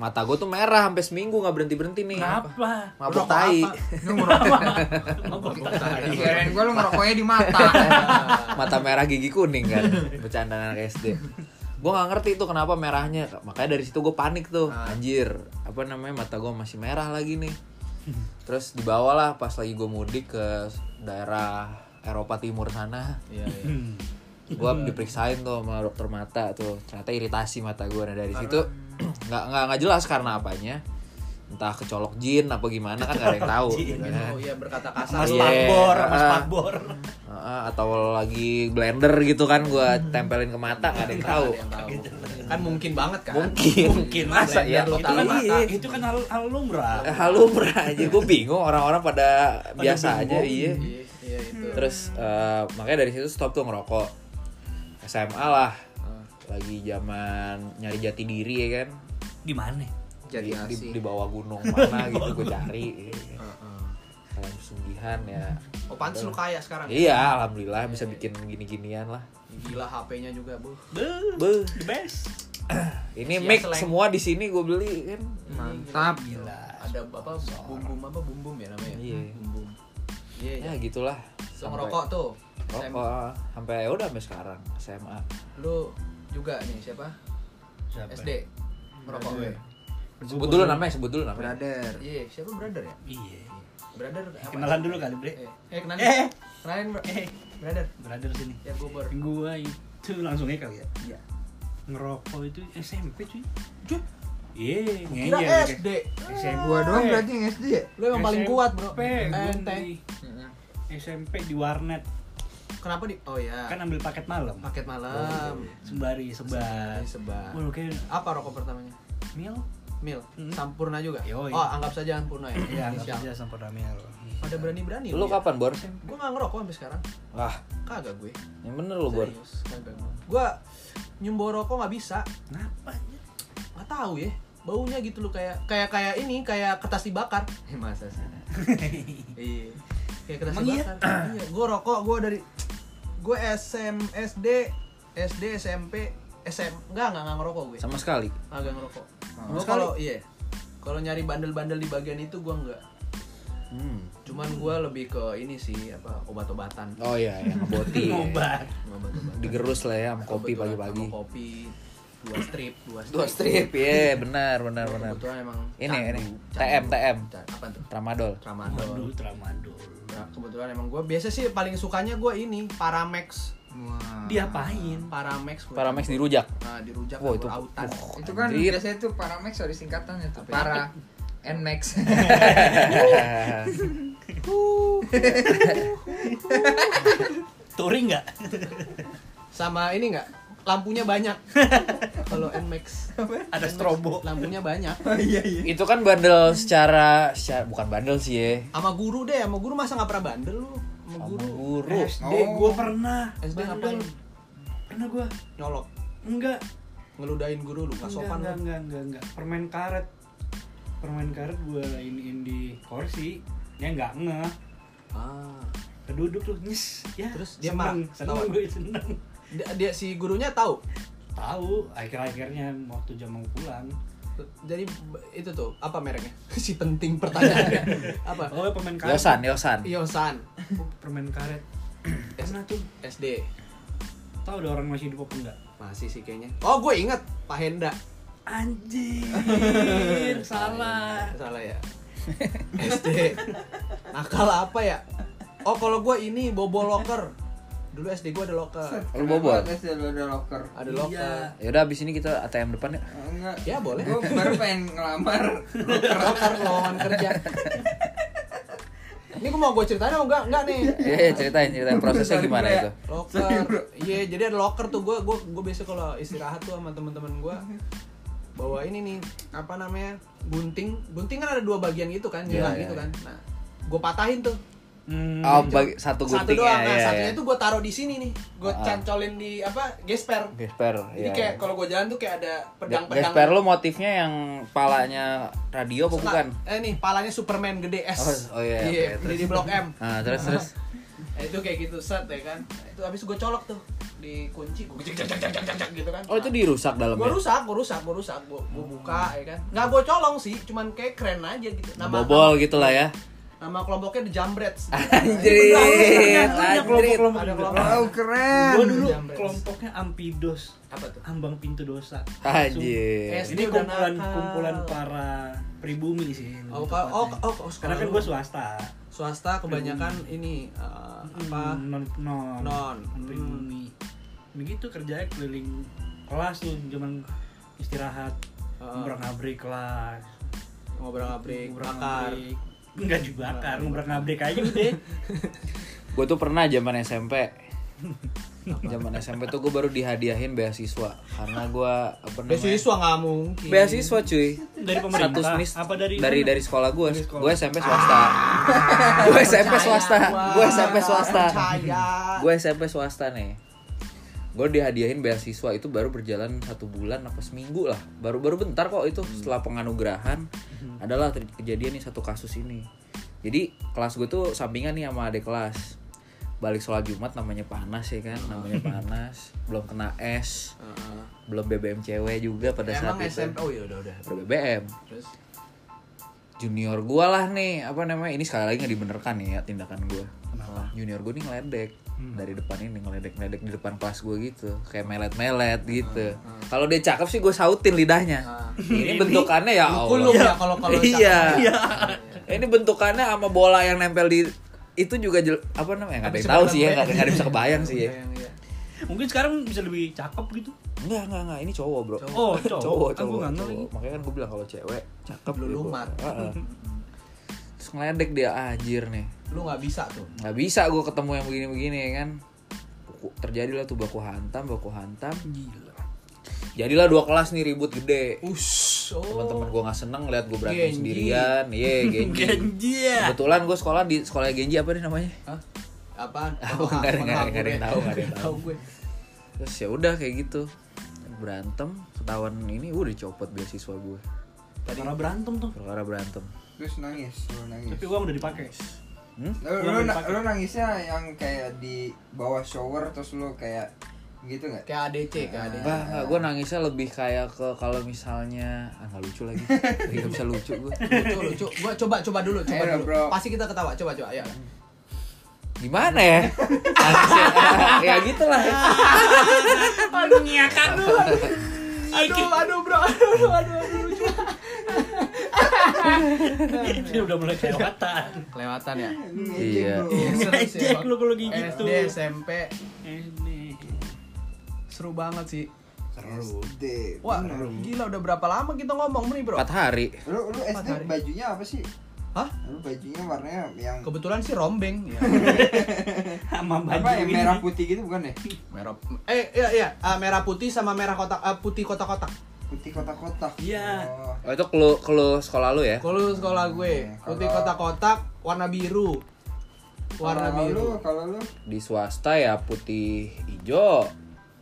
Speaker 3: Mata gua tuh merah sampai seminggu nggak berhenti berhenti nih.
Speaker 2: kenapa
Speaker 4: Ngerokok
Speaker 3: Mabuk tai.
Speaker 4: apa?
Speaker 1: Lu ngerokok.
Speaker 2: Mabok
Speaker 1: Kirain gua lu ngerokoknya di mata.
Speaker 3: mata merah gigi kuning kan bercandaan anak SD gue nggak ngerti tuh kenapa merahnya makanya dari situ gue panik tuh
Speaker 4: Ah.
Speaker 3: anjir apa namanya mata gue masih merah lagi nih terus dibawalah pas lagi gue mudik ke daerah Eropa Timur sana
Speaker 4: Iya, iya.
Speaker 3: gue
Speaker 4: Hmm.
Speaker 3: diperiksain tuh sama dokter mata tuh ternyata iritasi mata gue nah dari situ nggak nggak nggak jelas karena apanya entah kecolok jin apa gimana kan nggak ada yang tahu
Speaker 2: Kecolok jin.
Speaker 3: gitu kan.
Speaker 4: Oh iya, berkata kasar.
Speaker 2: mas
Speaker 3: Iya.
Speaker 2: pakbor mas
Speaker 3: Ah.
Speaker 2: pakbor
Speaker 3: Heeh, atau lagi blender gitu kan gue
Speaker 4: Hmm.
Speaker 3: tempelin ke mata nggak ada yang tahu
Speaker 4: Ada yang tahu. Kan mungkin banget kan?
Speaker 3: mungkin
Speaker 2: mungkin masa
Speaker 3: ya
Speaker 2: ya
Speaker 4: Blender
Speaker 2: itu
Speaker 4: total
Speaker 2: kan
Speaker 4: mata.
Speaker 2: itu kan hal hal lumrah
Speaker 3: lumrah aja gue Iya, bingung orang-orang pada biasa aja
Speaker 2: bingung.
Speaker 4: Iya,
Speaker 3: iya
Speaker 4: iya itu.
Speaker 3: terus eh, makanya dari situ stop tuh ngerokok SMA lah lagi zaman nyari jati diri ya kan
Speaker 2: di mana
Speaker 1: Jadi
Speaker 3: di,
Speaker 1: asik.
Speaker 3: di bawah gunung mana gitu gue cari iya. kalian pesugihan ya
Speaker 4: Oh, pantes lu kaya sekarang. ya?
Speaker 3: iya alhamdulillah bisa bikin gini-ginian lah
Speaker 4: Gila HP-nya juga, Bu.
Speaker 2: Beuh,
Speaker 3: Beuh.
Speaker 2: the best
Speaker 3: Ini
Speaker 2: Sia
Speaker 3: mic
Speaker 2: seleng.
Speaker 3: semua di sini gue beli kan.
Speaker 1: Mantap.
Speaker 2: Gila.
Speaker 4: ada apa bumbum apa bumbum ya namanya
Speaker 3: Iya.
Speaker 4: bumbum iya
Speaker 3: Ya
Speaker 4: iya
Speaker 3: gitulah.
Speaker 4: Lu ngerokok tuh Sam,
Speaker 3: Rokok sampai ya udah sampai sekarang SMA.
Speaker 4: lu juga nih siapa
Speaker 2: Siapa?
Speaker 4: SD merokok
Speaker 1: Brother.
Speaker 4: gue
Speaker 3: Sebut dulu namanya, sebut dulu namanya.
Speaker 1: Brother.
Speaker 4: ya? iya siapa brother ya
Speaker 2: Iya.
Speaker 4: brother apa
Speaker 2: Kenalan dulu kali, Bre.
Speaker 4: eh eh, kenalin
Speaker 2: Eh.
Speaker 4: kenalin bro eh brother
Speaker 2: Brother sini.
Speaker 4: ya gue ber
Speaker 2: Gua itu langsungnya kali ya.
Speaker 4: iya
Speaker 2: Ngerokok itu SMP cuy. Cuy. Iya,
Speaker 4: kira
Speaker 2: ngeyel ya,
Speaker 4: SD
Speaker 2: kayak. SMP.
Speaker 1: Gua doang berarti yang SD ya?
Speaker 4: lu emang paling
Speaker 2: SMP,
Speaker 4: kuat bro
Speaker 2: gua
Speaker 4: enteng
Speaker 2: di SMP di warnet.
Speaker 4: kenapa di oh ya
Speaker 2: Kan Oh, iya, ambil paket malam.
Speaker 4: paket malam
Speaker 2: Sembari sebar.
Speaker 4: Sembari sebar.
Speaker 2: Waduh, kayak
Speaker 4: apa rokok pertamanya
Speaker 2: mil.
Speaker 4: mil
Speaker 2: Hmm.
Speaker 4: sampurna juga
Speaker 2: Yoi.
Speaker 4: oh anggap saja sampurna ya
Speaker 2: Iya,
Speaker 4: Inisial.
Speaker 2: enggak saja sampai mil.
Speaker 4: pada berani berani
Speaker 3: Lu kapan Ah, bor?
Speaker 4: gue nggak ngerokok sampai sekarang
Speaker 3: Wah,
Speaker 4: kagak gue
Speaker 3: yang bener lu bor.
Speaker 4: Serius, kagak gue gue nyembor rokok nggak bisa
Speaker 2: Kenapa?
Speaker 4: nggak tahu ya baunya gitu loh kayak kayak kayak ini kayak kertas dibakar
Speaker 1: Masa sih.
Speaker 4: iya kayak kertas
Speaker 2: Emang iya?
Speaker 4: dibakar iya gue rokok gue dari gue SM SD SD SMP SM enggak enggak enggak ngerokok gue
Speaker 3: Sama sekali.
Speaker 4: agak ngerokok
Speaker 1: Sama
Speaker 4: gue
Speaker 3: sekali.
Speaker 4: kalau iya kalau nyari bandel-bandel di bagian itu gue enggak
Speaker 3: Hmm.
Speaker 4: cuman gue lebih ke ini sih apa obat-obatan
Speaker 3: Oh iya, yang ngeboti.
Speaker 2: Ngobat.
Speaker 4: obat-obatan
Speaker 3: Digerus lah ya sama kopi
Speaker 4: Kebetulan
Speaker 3: pagi-pagi.
Speaker 4: sama kopi dua strip dua strip,
Speaker 3: Dua strip, ya benar benar
Speaker 4: Gua
Speaker 3: benar.
Speaker 4: kebetulan emang
Speaker 3: Ini,
Speaker 4: candu,
Speaker 3: ini.
Speaker 4: candu.
Speaker 3: TM, TM.
Speaker 4: Can- apa tuh
Speaker 3: Tramadol.
Speaker 4: tramadol
Speaker 2: Waduh, tramadol.
Speaker 4: Nah, kebetulan emang gue biasa sih paling sukanya gue ini Paramex
Speaker 1: Wah.
Speaker 2: Diapain?
Speaker 4: Paramex gua
Speaker 3: Paramex dirujak.
Speaker 4: nah, dirujak
Speaker 3: Wah,
Speaker 4: campur
Speaker 3: itu-
Speaker 4: autan
Speaker 3: uh.
Speaker 1: Itu kan
Speaker 3: Anjir.
Speaker 1: biasanya tuh Paramex sorry singkatannya ya tuh. Para and Max.
Speaker 2: Touring enggak?
Speaker 4: sama ini nggak lampunya banyak kalau Nmax
Speaker 2: Ada
Speaker 4: Nmax,
Speaker 2: strobo.
Speaker 4: lampunya banyak
Speaker 3: Itu kan bandel secara, secara bukan bandel sih ya.
Speaker 4: sama guru deh sama guru masa nggak pernah bandel lu sama
Speaker 3: Sama
Speaker 4: guru Eh,
Speaker 3: guru.
Speaker 2: SD
Speaker 1: Oh.
Speaker 2: gua pernah.
Speaker 4: SD
Speaker 2: Bandel.
Speaker 4: ngapain
Speaker 2: Pernah gua.
Speaker 4: nyolok
Speaker 2: Enggak.
Speaker 4: ngeludahin guru lu nggak
Speaker 2: Enggak, enggak,
Speaker 4: sopan lu
Speaker 2: enggak, enggak, enggak. Permen karet. Permen karet gua iniin di kursi. Ya enggak ngeh.
Speaker 4: ah
Speaker 2: Keduduk tuh nyes. Ya.
Speaker 4: Terus dia marah,
Speaker 2: seneng, seneng
Speaker 4: ketawa.
Speaker 2: gue seneng.
Speaker 4: dia, dia- si gurunya tahu
Speaker 2: Tahu akhir-akhirnya waktu jam mau pulang.
Speaker 4: jadi b- itu tuh apa mereknya si penting pertanyaannya apa
Speaker 2: Oh, permen
Speaker 4: kan.
Speaker 2: karet.
Speaker 3: Yosan, Yosan.
Speaker 4: Yosan
Speaker 2: Permen karet. Pernah tuh.
Speaker 4: SD
Speaker 2: Tahu ada orang masih hidup apa enggak?
Speaker 4: masih sih kayaknya oh gue inget Pak Henda
Speaker 2: Anjir, salah.
Speaker 4: salah ya SD nakal apa ya oh kalau gue ini bobo locker dulu SD gue ada locker
Speaker 3: Lu bobol.
Speaker 1: Terus lu ada locker.
Speaker 4: ada locker
Speaker 3: Ya udah abis ini kita ATM depan ya.
Speaker 1: Oh, Enggak.
Speaker 4: ya boleh
Speaker 1: Gue baru pengen ngelamar.
Speaker 4: locker lowongan kerja ini gue mau gue ceritain apa enggak enggak nih
Speaker 3: Iya, iya, ceritain, ceritain prosesnya gimana
Speaker 4: ya.
Speaker 3: itu.
Speaker 4: locker iya jadi ada locker tuh gue gue gue biasa kalau istirahat tuh sama teman-teman gue bawa ini nih apa namanya gunting gunting kan ada dua bagian gitu kan
Speaker 3: Iya,
Speaker 4: bilang
Speaker 3: iya,
Speaker 4: gitu
Speaker 3: iya.
Speaker 4: kan nah gue patahin tuh
Speaker 2: Hmm.
Speaker 3: Oh, bagi, satu
Speaker 4: satu
Speaker 3: gunting
Speaker 4: doang
Speaker 3: ya.
Speaker 4: nah
Speaker 3: iya,
Speaker 4: satunya
Speaker 3: iya.
Speaker 4: tuh gue taruh di sini nih gue
Speaker 3: Ah.
Speaker 4: cancolin di apa gesper
Speaker 3: Gesper.
Speaker 4: jadi
Speaker 3: Iya.
Speaker 4: kayak kalau gue jalan tuh kayak ada
Speaker 3: Ge-
Speaker 4: pedang-pedang
Speaker 3: Gesper lu motifnya yang palanya radio apa
Speaker 4: Nah,
Speaker 3: bukan?
Speaker 4: eh nih palanya Superman gede S
Speaker 3: Oh, oh iya,
Speaker 4: Iya,
Speaker 3: oke,
Speaker 4: beli di blok M
Speaker 3: Ah, terus terus.
Speaker 4: Nah, itu kayak gitu set ya kan Nah, itu abis gue colok tuh di kunci gue cek cek cek cek cek, cek gitu kan
Speaker 3: Oh, itu dirusak
Speaker 4: gue
Speaker 3: dalamnya.
Speaker 4: rusak gue rusak gue rusak gue
Speaker 3: Hmm.
Speaker 4: buka ya kan nggak gue colong sih cuman kayak keren aja gitu
Speaker 3: Bobol gitu lah ya.
Speaker 4: nama, kelompoknya The Jambrets Nah,
Speaker 3: Anjrit,
Speaker 2: Ada
Speaker 3: anjrit.
Speaker 2: kelompok-kelompok
Speaker 4: Ada
Speaker 2: juga.
Speaker 4: kelompok.
Speaker 1: Wow keren.
Speaker 2: Gue dulu
Speaker 4: Jambres.
Speaker 2: kelompoknya Ampidos,
Speaker 4: apa tuh
Speaker 2: ambang pintu dosa.
Speaker 3: Anjir.
Speaker 4: Yes.
Speaker 2: Ini
Speaker 4: Udah
Speaker 2: kumpulan
Speaker 4: nakal.
Speaker 2: kumpulan para pribumi sih. lebih
Speaker 4: oh ka-
Speaker 2: tepatnya.
Speaker 4: oh oh, oh,
Speaker 2: Karena kan gue swasta.
Speaker 4: swasta kebanyakan ini eh, apa
Speaker 2: Hmm, non non,
Speaker 4: Non. Hmm.
Speaker 2: pribumi. Begitu kerjanya keliling kelas tuh zaman istirahat
Speaker 4: Ah.
Speaker 2: ngobrol ngabrik kelas
Speaker 4: ngobrol ngabrik bakar
Speaker 2: enggak dibakar ngobrol ngabrik aja udah
Speaker 3: Gue tuh pernah zaman SMP. Zaman SMP tuh gue baru dihadiahin beasiswa karena gue apa namanya? Iya.
Speaker 4: beasiswa nggak mungkin
Speaker 3: Beasiswa cuy.
Speaker 2: dari pemerintah
Speaker 3: Status mis-
Speaker 2: apa dari
Speaker 3: dari
Speaker 2: mana?
Speaker 3: dari sekolah gue.
Speaker 2: Dari sekolah. Ah,
Speaker 3: Gue SMP swasta. gue SMP swasta. Gue SMP swasta.
Speaker 4: percaya
Speaker 3: Gue SMP swasta nih. Gue dihadiahin beasiswa itu baru berjalan satu bulan apa seminggu lah. Baru-baru bentar kok itu setelah penganugerahan adalah ter- kejadian nih satu kasus ini. Jadi kelas gue tuh sampingan nih sama adik kelas. balik sholat Jumat namanya panas ya kan, namanya panas, belum kena es,
Speaker 4: Heeh.
Speaker 3: belum BBM cewek juga pada saat
Speaker 4: Emang
Speaker 3: itu.
Speaker 4: SMP oh ya udah udah.
Speaker 3: Ada BBM.
Speaker 4: Terus
Speaker 3: Junior gua lah nih, apa namanya? Ini sekali lagi nggak dibenerkan nih ya tindakan gua. Junior gua nih ngeledek
Speaker 4: Hmm.
Speaker 3: dari depan ini ngeledek-ngeledek di depan kelas gua gitu, kayak melet-melet gitu. Kalau dia cakep sih gua sautin lidahnya.
Speaker 4: Hmm, Ah.
Speaker 3: Ini bentukannya ya Allah.
Speaker 4: kulum ya kalau kalau
Speaker 3: Iya. Ini bentukannya sama bola yang nempel di itu juga jel- apa namanya? Enggak ada yang tahu sih ya, enggak ada yang bisa kebayang sih
Speaker 4: Iya.
Speaker 3: ya.
Speaker 2: Mungkin sekarang bisa lebih cakep gitu.
Speaker 3: Enggak, enggak, enggak. Ini cowok, Bro.
Speaker 2: Oh, cowok.
Speaker 3: Cowok,
Speaker 2: Aku
Speaker 3: cowok.
Speaker 2: nggak ngerti.
Speaker 3: cowok. Makanya kan gue bilang kalau cewek cakep
Speaker 4: Lu
Speaker 3: gitu.
Speaker 4: lumat.
Speaker 3: Heeh. Terus ngeledek dia "Ah, anjir nih.
Speaker 4: Lu nggak bisa tuh.
Speaker 3: Nggak bisa gue ketemu yang begini-begini ya kan. Buku- Terjadilah tuh baku hantam, baku hantam.
Speaker 2: Gila. Oh.
Speaker 3: Jadilah dua kelas nih ribut gede.
Speaker 4: Ush.
Speaker 3: Teman-teman gue nggak seneng lihat gue berantem
Speaker 4: Genji.
Speaker 3: sendirian. Iya, genji.
Speaker 2: Genji. ya.
Speaker 3: Kebetulan gue sekolah di sekolah Genji apa nih namanya?
Speaker 4: Hah? Apaan?
Speaker 3: Tahu, nggak ada- nggak ada- nggak ada yang tahu, nggak ada yang tahu.
Speaker 4: Tahu gue.
Speaker 3: Terus ya udah kayak gitu berantem ketahuan ini udah copot beasiswa gue
Speaker 4: Tadi
Speaker 2: Karena berantem tuh.
Speaker 3: perkara berantem.
Speaker 1: Terus nangis, lu nangis.
Speaker 2: Tapi uang udah dipakai.
Speaker 3: Hmm?
Speaker 1: Lu, lu,
Speaker 2: Yang
Speaker 1: na-
Speaker 2: dipakai.
Speaker 1: lu nangisnya yang kayak di bawah shower terus lu kayak gitu nggak?
Speaker 4: kayak ADC, kayak ADC.
Speaker 3: Enggak, enggak. Gue nangisnya lebih kayak ke kalau misalnya... Ah, nggak lucu lagi. Lagi nggak bisa lucu gue.
Speaker 4: Lucu, lucu. Gua coba coba dulu, coba
Speaker 1: Ayo,
Speaker 4: dulu.
Speaker 1: bro.
Speaker 4: Pasti kita ketawa, coba coba ya.
Speaker 3: Gimana ya? Nangisnya, ya gitu lah.
Speaker 2: Aduh ngiakan lu.
Speaker 4: Aduh, aduh bro, aduh, aduh, aduh, lucu.
Speaker 2: Dia udah mulai kelewatan.
Speaker 4: Kelewatan ya.
Speaker 3: Iya.
Speaker 4: Iya, seru sih.
Speaker 2: Ngejek lu kalau kayak gitu.
Speaker 4: SD, SMP,
Speaker 2: Ini.
Speaker 4: seru banget sih.
Speaker 1: SD.
Speaker 4: Wah, gila udah berapa lama kita ngomong nih bro?
Speaker 3: Empat hari.
Speaker 1: Lu lu SD
Speaker 4: Matahari.
Speaker 1: bajunya apa sih?
Speaker 4: Hah?
Speaker 1: Lu bajunya warnanya yang
Speaker 4: Kebetulan sih rombeng. Ya.
Speaker 2: Sama baju
Speaker 1: apa yang
Speaker 2: ini.
Speaker 1: merah putih gitu bukan ya?
Speaker 4: merah, eh iya iya, Ah, merah putih sama merah kotak ah, putih kotak-kotak.
Speaker 1: Putih kotak-kotak.
Speaker 2: Iya.
Speaker 1: Oh.
Speaker 3: Oh, itu kelu, kelu sekolah lu ya?
Speaker 4: Kalau sekolah gue,
Speaker 1: Hmm,
Speaker 4: putih
Speaker 1: kalau-
Speaker 4: kotak-kotak, warna biru.
Speaker 1: Kalau
Speaker 4: Warna
Speaker 1: lu,
Speaker 4: biru.
Speaker 1: kalau lu
Speaker 3: Di swasta ya putih hijau.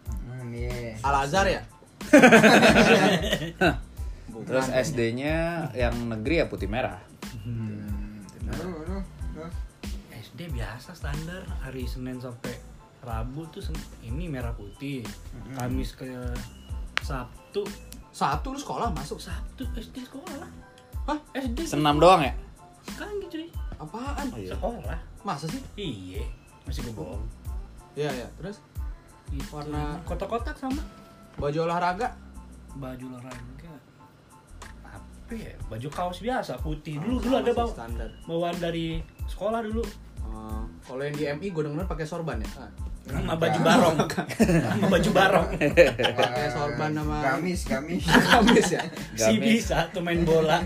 Speaker 1: Hmm, iya.
Speaker 4: Al Azhar ya?
Speaker 3: Terus SD-nya yang negeri ya putih merah.
Speaker 1: Nah, Lu lu lu
Speaker 2: SD biasa standar hari Senin sampai Rabu tuh sen- ini merah putih. Kamis ke Sabtu,
Speaker 4: Satu lu sekolah masuk.
Speaker 2: Sabtu SD sekolah.
Speaker 4: Hah?
Speaker 2: SD
Speaker 3: Senam doang ya?
Speaker 2: Kan gitu cuy.
Speaker 4: Apaan?
Speaker 1: Oh, iya.
Speaker 2: Sekolah.
Speaker 4: Masa sih?
Speaker 2: Iya, masih gue bohong.
Speaker 4: Iya iya. Terus
Speaker 2: Gitu.
Speaker 4: Warna-
Speaker 2: kotak-kotak sama
Speaker 4: baju olahraga?
Speaker 2: baju olahraga. Apa ya? Baju kaos biasa putih. Iya, Dulu dulu ada
Speaker 4: bang
Speaker 2: bawa
Speaker 4: standar.
Speaker 2: bawaan dari sekolah dulu
Speaker 4: Oh, kalau yang di MI gue denger pakai sorban ya. Ah.
Speaker 2: sama baju barong. Sama baju barong.
Speaker 1: Pakai
Speaker 4: sorban sama-
Speaker 1: gamis, gamis.
Speaker 4: Kamis ya.
Speaker 2: Si
Speaker 3: Gamis.
Speaker 2: bisa tuh main bola.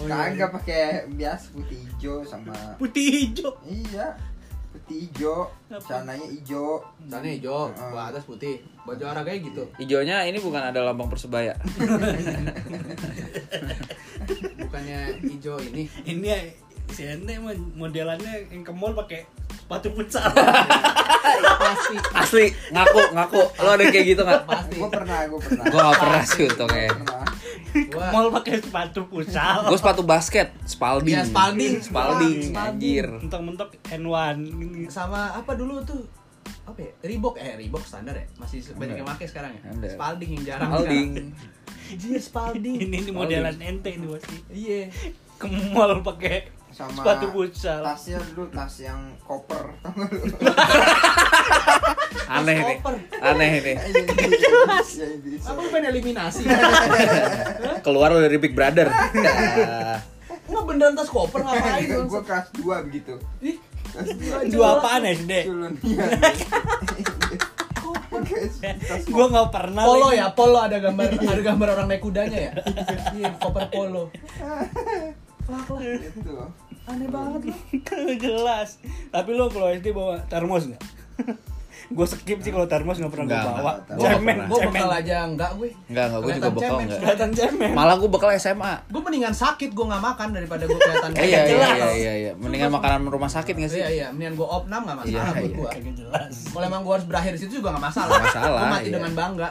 Speaker 4: Oh, iya,
Speaker 1: Kagak pakai bias putih hijau sama
Speaker 2: Putih hijau.
Speaker 1: Iya. Putih hijau,
Speaker 2: Apa?
Speaker 1: sananya hijau.
Speaker 4: Sana hijau,
Speaker 1: Hmm.
Speaker 4: bawah atas putih. Baju olahraganya gitu.
Speaker 3: Hijaunya ini bukan ada lambang persebaya.
Speaker 4: Iya. Bukannya hijau ini.
Speaker 2: Ini ya, si Ente mah modelannya yang ke mall pakai sepatu futsal.
Speaker 4: Pasti.
Speaker 3: Asli, ngaku, ngaku. Lo ada kayak gitu nggak?
Speaker 4: Pasti.
Speaker 1: Gue pernah, gue pernah.
Speaker 3: Gue gak pernah sih untungnya.
Speaker 1: Pernah.
Speaker 2: Ke
Speaker 4: Gua
Speaker 2: mall pakai sepatu futsal.
Speaker 3: Gue sepatu basket, Spalding.
Speaker 4: Iya, Spalding.
Speaker 3: Spalding,
Speaker 4: Spalding.
Speaker 3: anjir.
Speaker 2: Mentok-mentok N1 gini.
Speaker 4: sama apa dulu tuh? Apa ya? Reebok eh Reebok standar ya. Masih banyak yang pakai sekarang ya.
Speaker 3: Standar.
Speaker 4: Spalding yang jarang
Speaker 3: Spalding.
Speaker 4: sekarang. Iya, Spalding.
Speaker 2: Ini ini modelan Ente ini pasti. Oh,
Speaker 4: Iya.
Speaker 2: iya. Ke mall pakai
Speaker 1: Sama
Speaker 2: sepatu futsal.
Speaker 1: tasnya dulu tas yang koper tau gak lu?
Speaker 3: Aneh nih.
Speaker 4: Koper.
Speaker 3: Aneh nih.
Speaker 1: Yang di- yang di-
Speaker 4: Apa lu pengen eliminasi?
Speaker 3: Keluar lo dari Big Brother. Ah.
Speaker 4: Nggak beneran tas koper ngapain lu?
Speaker 1: Gue kelas 2 begitu
Speaker 4: Ih,
Speaker 1: Kelas 2
Speaker 2: Dua apaan ya, SD?
Speaker 1: culun Iya. Pakai
Speaker 4: Iya.
Speaker 1: tas
Speaker 2: Gua nggak pernah.
Speaker 4: Polo
Speaker 2: lagi.
Speaker 4: ya, polo ada gambar ada gambar orang naik kudanya ya. Iya, koper polo.
Speaker 1: koper itu Oh,
Speaker 4: Aneh banget lu.
Speaker 2: Kagak jelas. Tapi lo kalau SD bawa termos nggak? gue skip sih kalau termos nggak pernah gue
Speaker 3: Nggak,
Speaker 2: bawa.
Speaker 3: nggak, nggak
Speaker 2: Cemen,
Speaker 3: pernah.
Speaker 4: Gue
Speaker 2: cemen.
Speaker 4: bekal aja enggak gue.
Speaker 3: Enggak, enggak. Gue juga
Speaker 4: Kelihatan
Speaker 3: bekal
Speaker 4: cemen,
Speaker 3: enggak.
Speaker 2: Kelihatan cemen.
Speaker 3: Malah gue bekal SMA.
Speaker 4: Gue mendingan sakit gue nggak makan daripada gue kelihatan
Speaker 3: Eh, iya, iya,
Speaker 2: Jelas.
Speaker 3: iya, iya, iya. Mendingan makanan rumah sakit gak sih?
Speaker 4: Iya iya, mendingan gue opnam nggak masalah buat
Speaker 3: Iya, iya.
Speaker 4: gue.
Speaker 2: Kagak jelas.
Speaker 4: Kalau emang gue harus berakhir di situ juga nggak masalah.
Speaker 3: Nggak masalah,
Speaker 4: Gue mati
Speaker 3: iya.
Speaker 4: dengan bangga.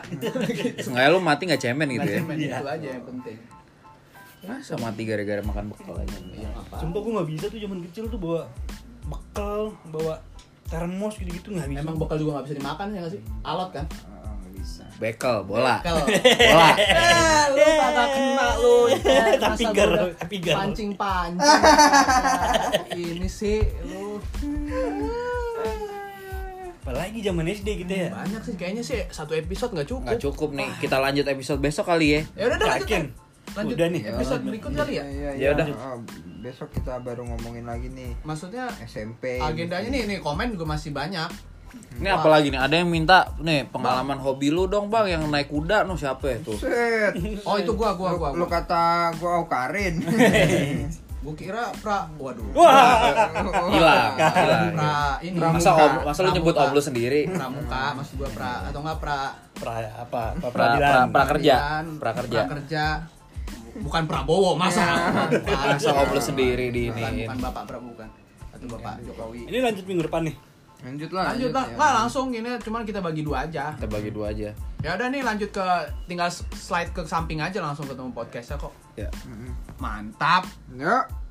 Speaker 3: Sengaja lo mati gak cemen gitu ya?
Speaker 4: Cuman itu aja yang penting.
Speaker 3: Masa mati gara-gara makan bekal aja?
Speaker 4: Yang
Speaker 3: Iya.
Speaker 4: apa?
Speaker 2: Sumpah gue nggak bisa tuh zaman kecil tuh bawa bekal, bawa termos gitu-gitu nggak bisa.
Speaker 4: Emang bekal juga nggak bisa dimakan ya nggak sih? Alot kan?
Speaker 1: Ah, nggak bisa
Speaker 3: Bekel, bola.
Speaker 4: Kalau
Speaker 3: Bola.
Speaker 4: eh, lu
Speaker 3: Iya.
Speaker 4: kagak kena lu. Ya,
Speaker 2: Tapi
Speaker 4: masa
Speaker 2: gar,
Speaker 4: gua udah
Speaker 2: tapi gar.
Speaker 4: Pancing-pancing. Ini sih lu
Speaker 2: Apalagi zaman SD gitu ya.
Speaker 4: banyak sih kayaknya sih satu episode nggak cukup.
Speaker 3: Nggak cukup nih. Kita lanjut episode besok kali ya.
Speaker 4: Ya udah udah, lanjut.
Speaker 2: Yakin?
Speaker 4: Lan. Lanjut
Speaker 2: Udah nih.
Speaker 4: episode berikut kali ya.
Speaker 1: Iya,
Speaker 3: Ya udah.
Speaker 1: Ah, besok kita baru ngomongin lagi nih
Speaker 4: Maksudnya
Speaker 1: SMP.
Speaker 4: agendanya nih nih komen juga masih banyak.
Speaker 3: Ini apalagi nih? Ada yang minta nih pengalaman hobi lu dong bang yang naik kuda nuh siapa ya tuh?
Speaker 1: Set.
Speaker 4: Oh itu gua
Speaker 1: Eh,
Speaker 4: gua
Speaker 1: Lu,
Speaker 4: gua.
Speaker 1: lu
Speaker 4: gua.
Speaker 1: kata gua Aukarin.
Speaker 4: Gua kira pra waduh.
Speaker 2: Wah,
Speaker 3: Hilang, hilang. Iya.
Speaker 4: Pra ini.
Speaker 3: Masa
Speaker 4: Pramuka.
Speaker 3: om, masa lu nyebut om lu sendiri?
Speaker 4: Pramuka maksud gua pra atau enggak pra
Speaker 2: pra apa? Pra
Speaker 3: Pra, pra,
Speaker 2: peradilan.
Speaker 3: prakerja,
Speaker 4: Peradilan,
Speaker 3: prakerja.
Speaker 4: prakerja. Bukan Prabowo masa. Bukan.
Speaker 3: Masa om lu sendiri di
Speaker 4: bukan,
Speaker 3: ini.
Speaker 4: bukan Bapak Prabowo bukan. Atau Bapak Jokowi.
Speaker 2: Ini lanjut minggu depan nih.
Speaker 1: lanjut ya. lah.
Speaker 4: Lanjut lah, nggak langsung gini cuman kita bagi dua aja.
Speaker 3: Kita bagi dua aja.
Speaker 4: Ya udah nih lanjut ke tinggal slide ke samping aja langsung ketemu podcastnya kok.
Speaker 3: Ya.
Speaker 4: Mantap.
Speaker 1: Ya.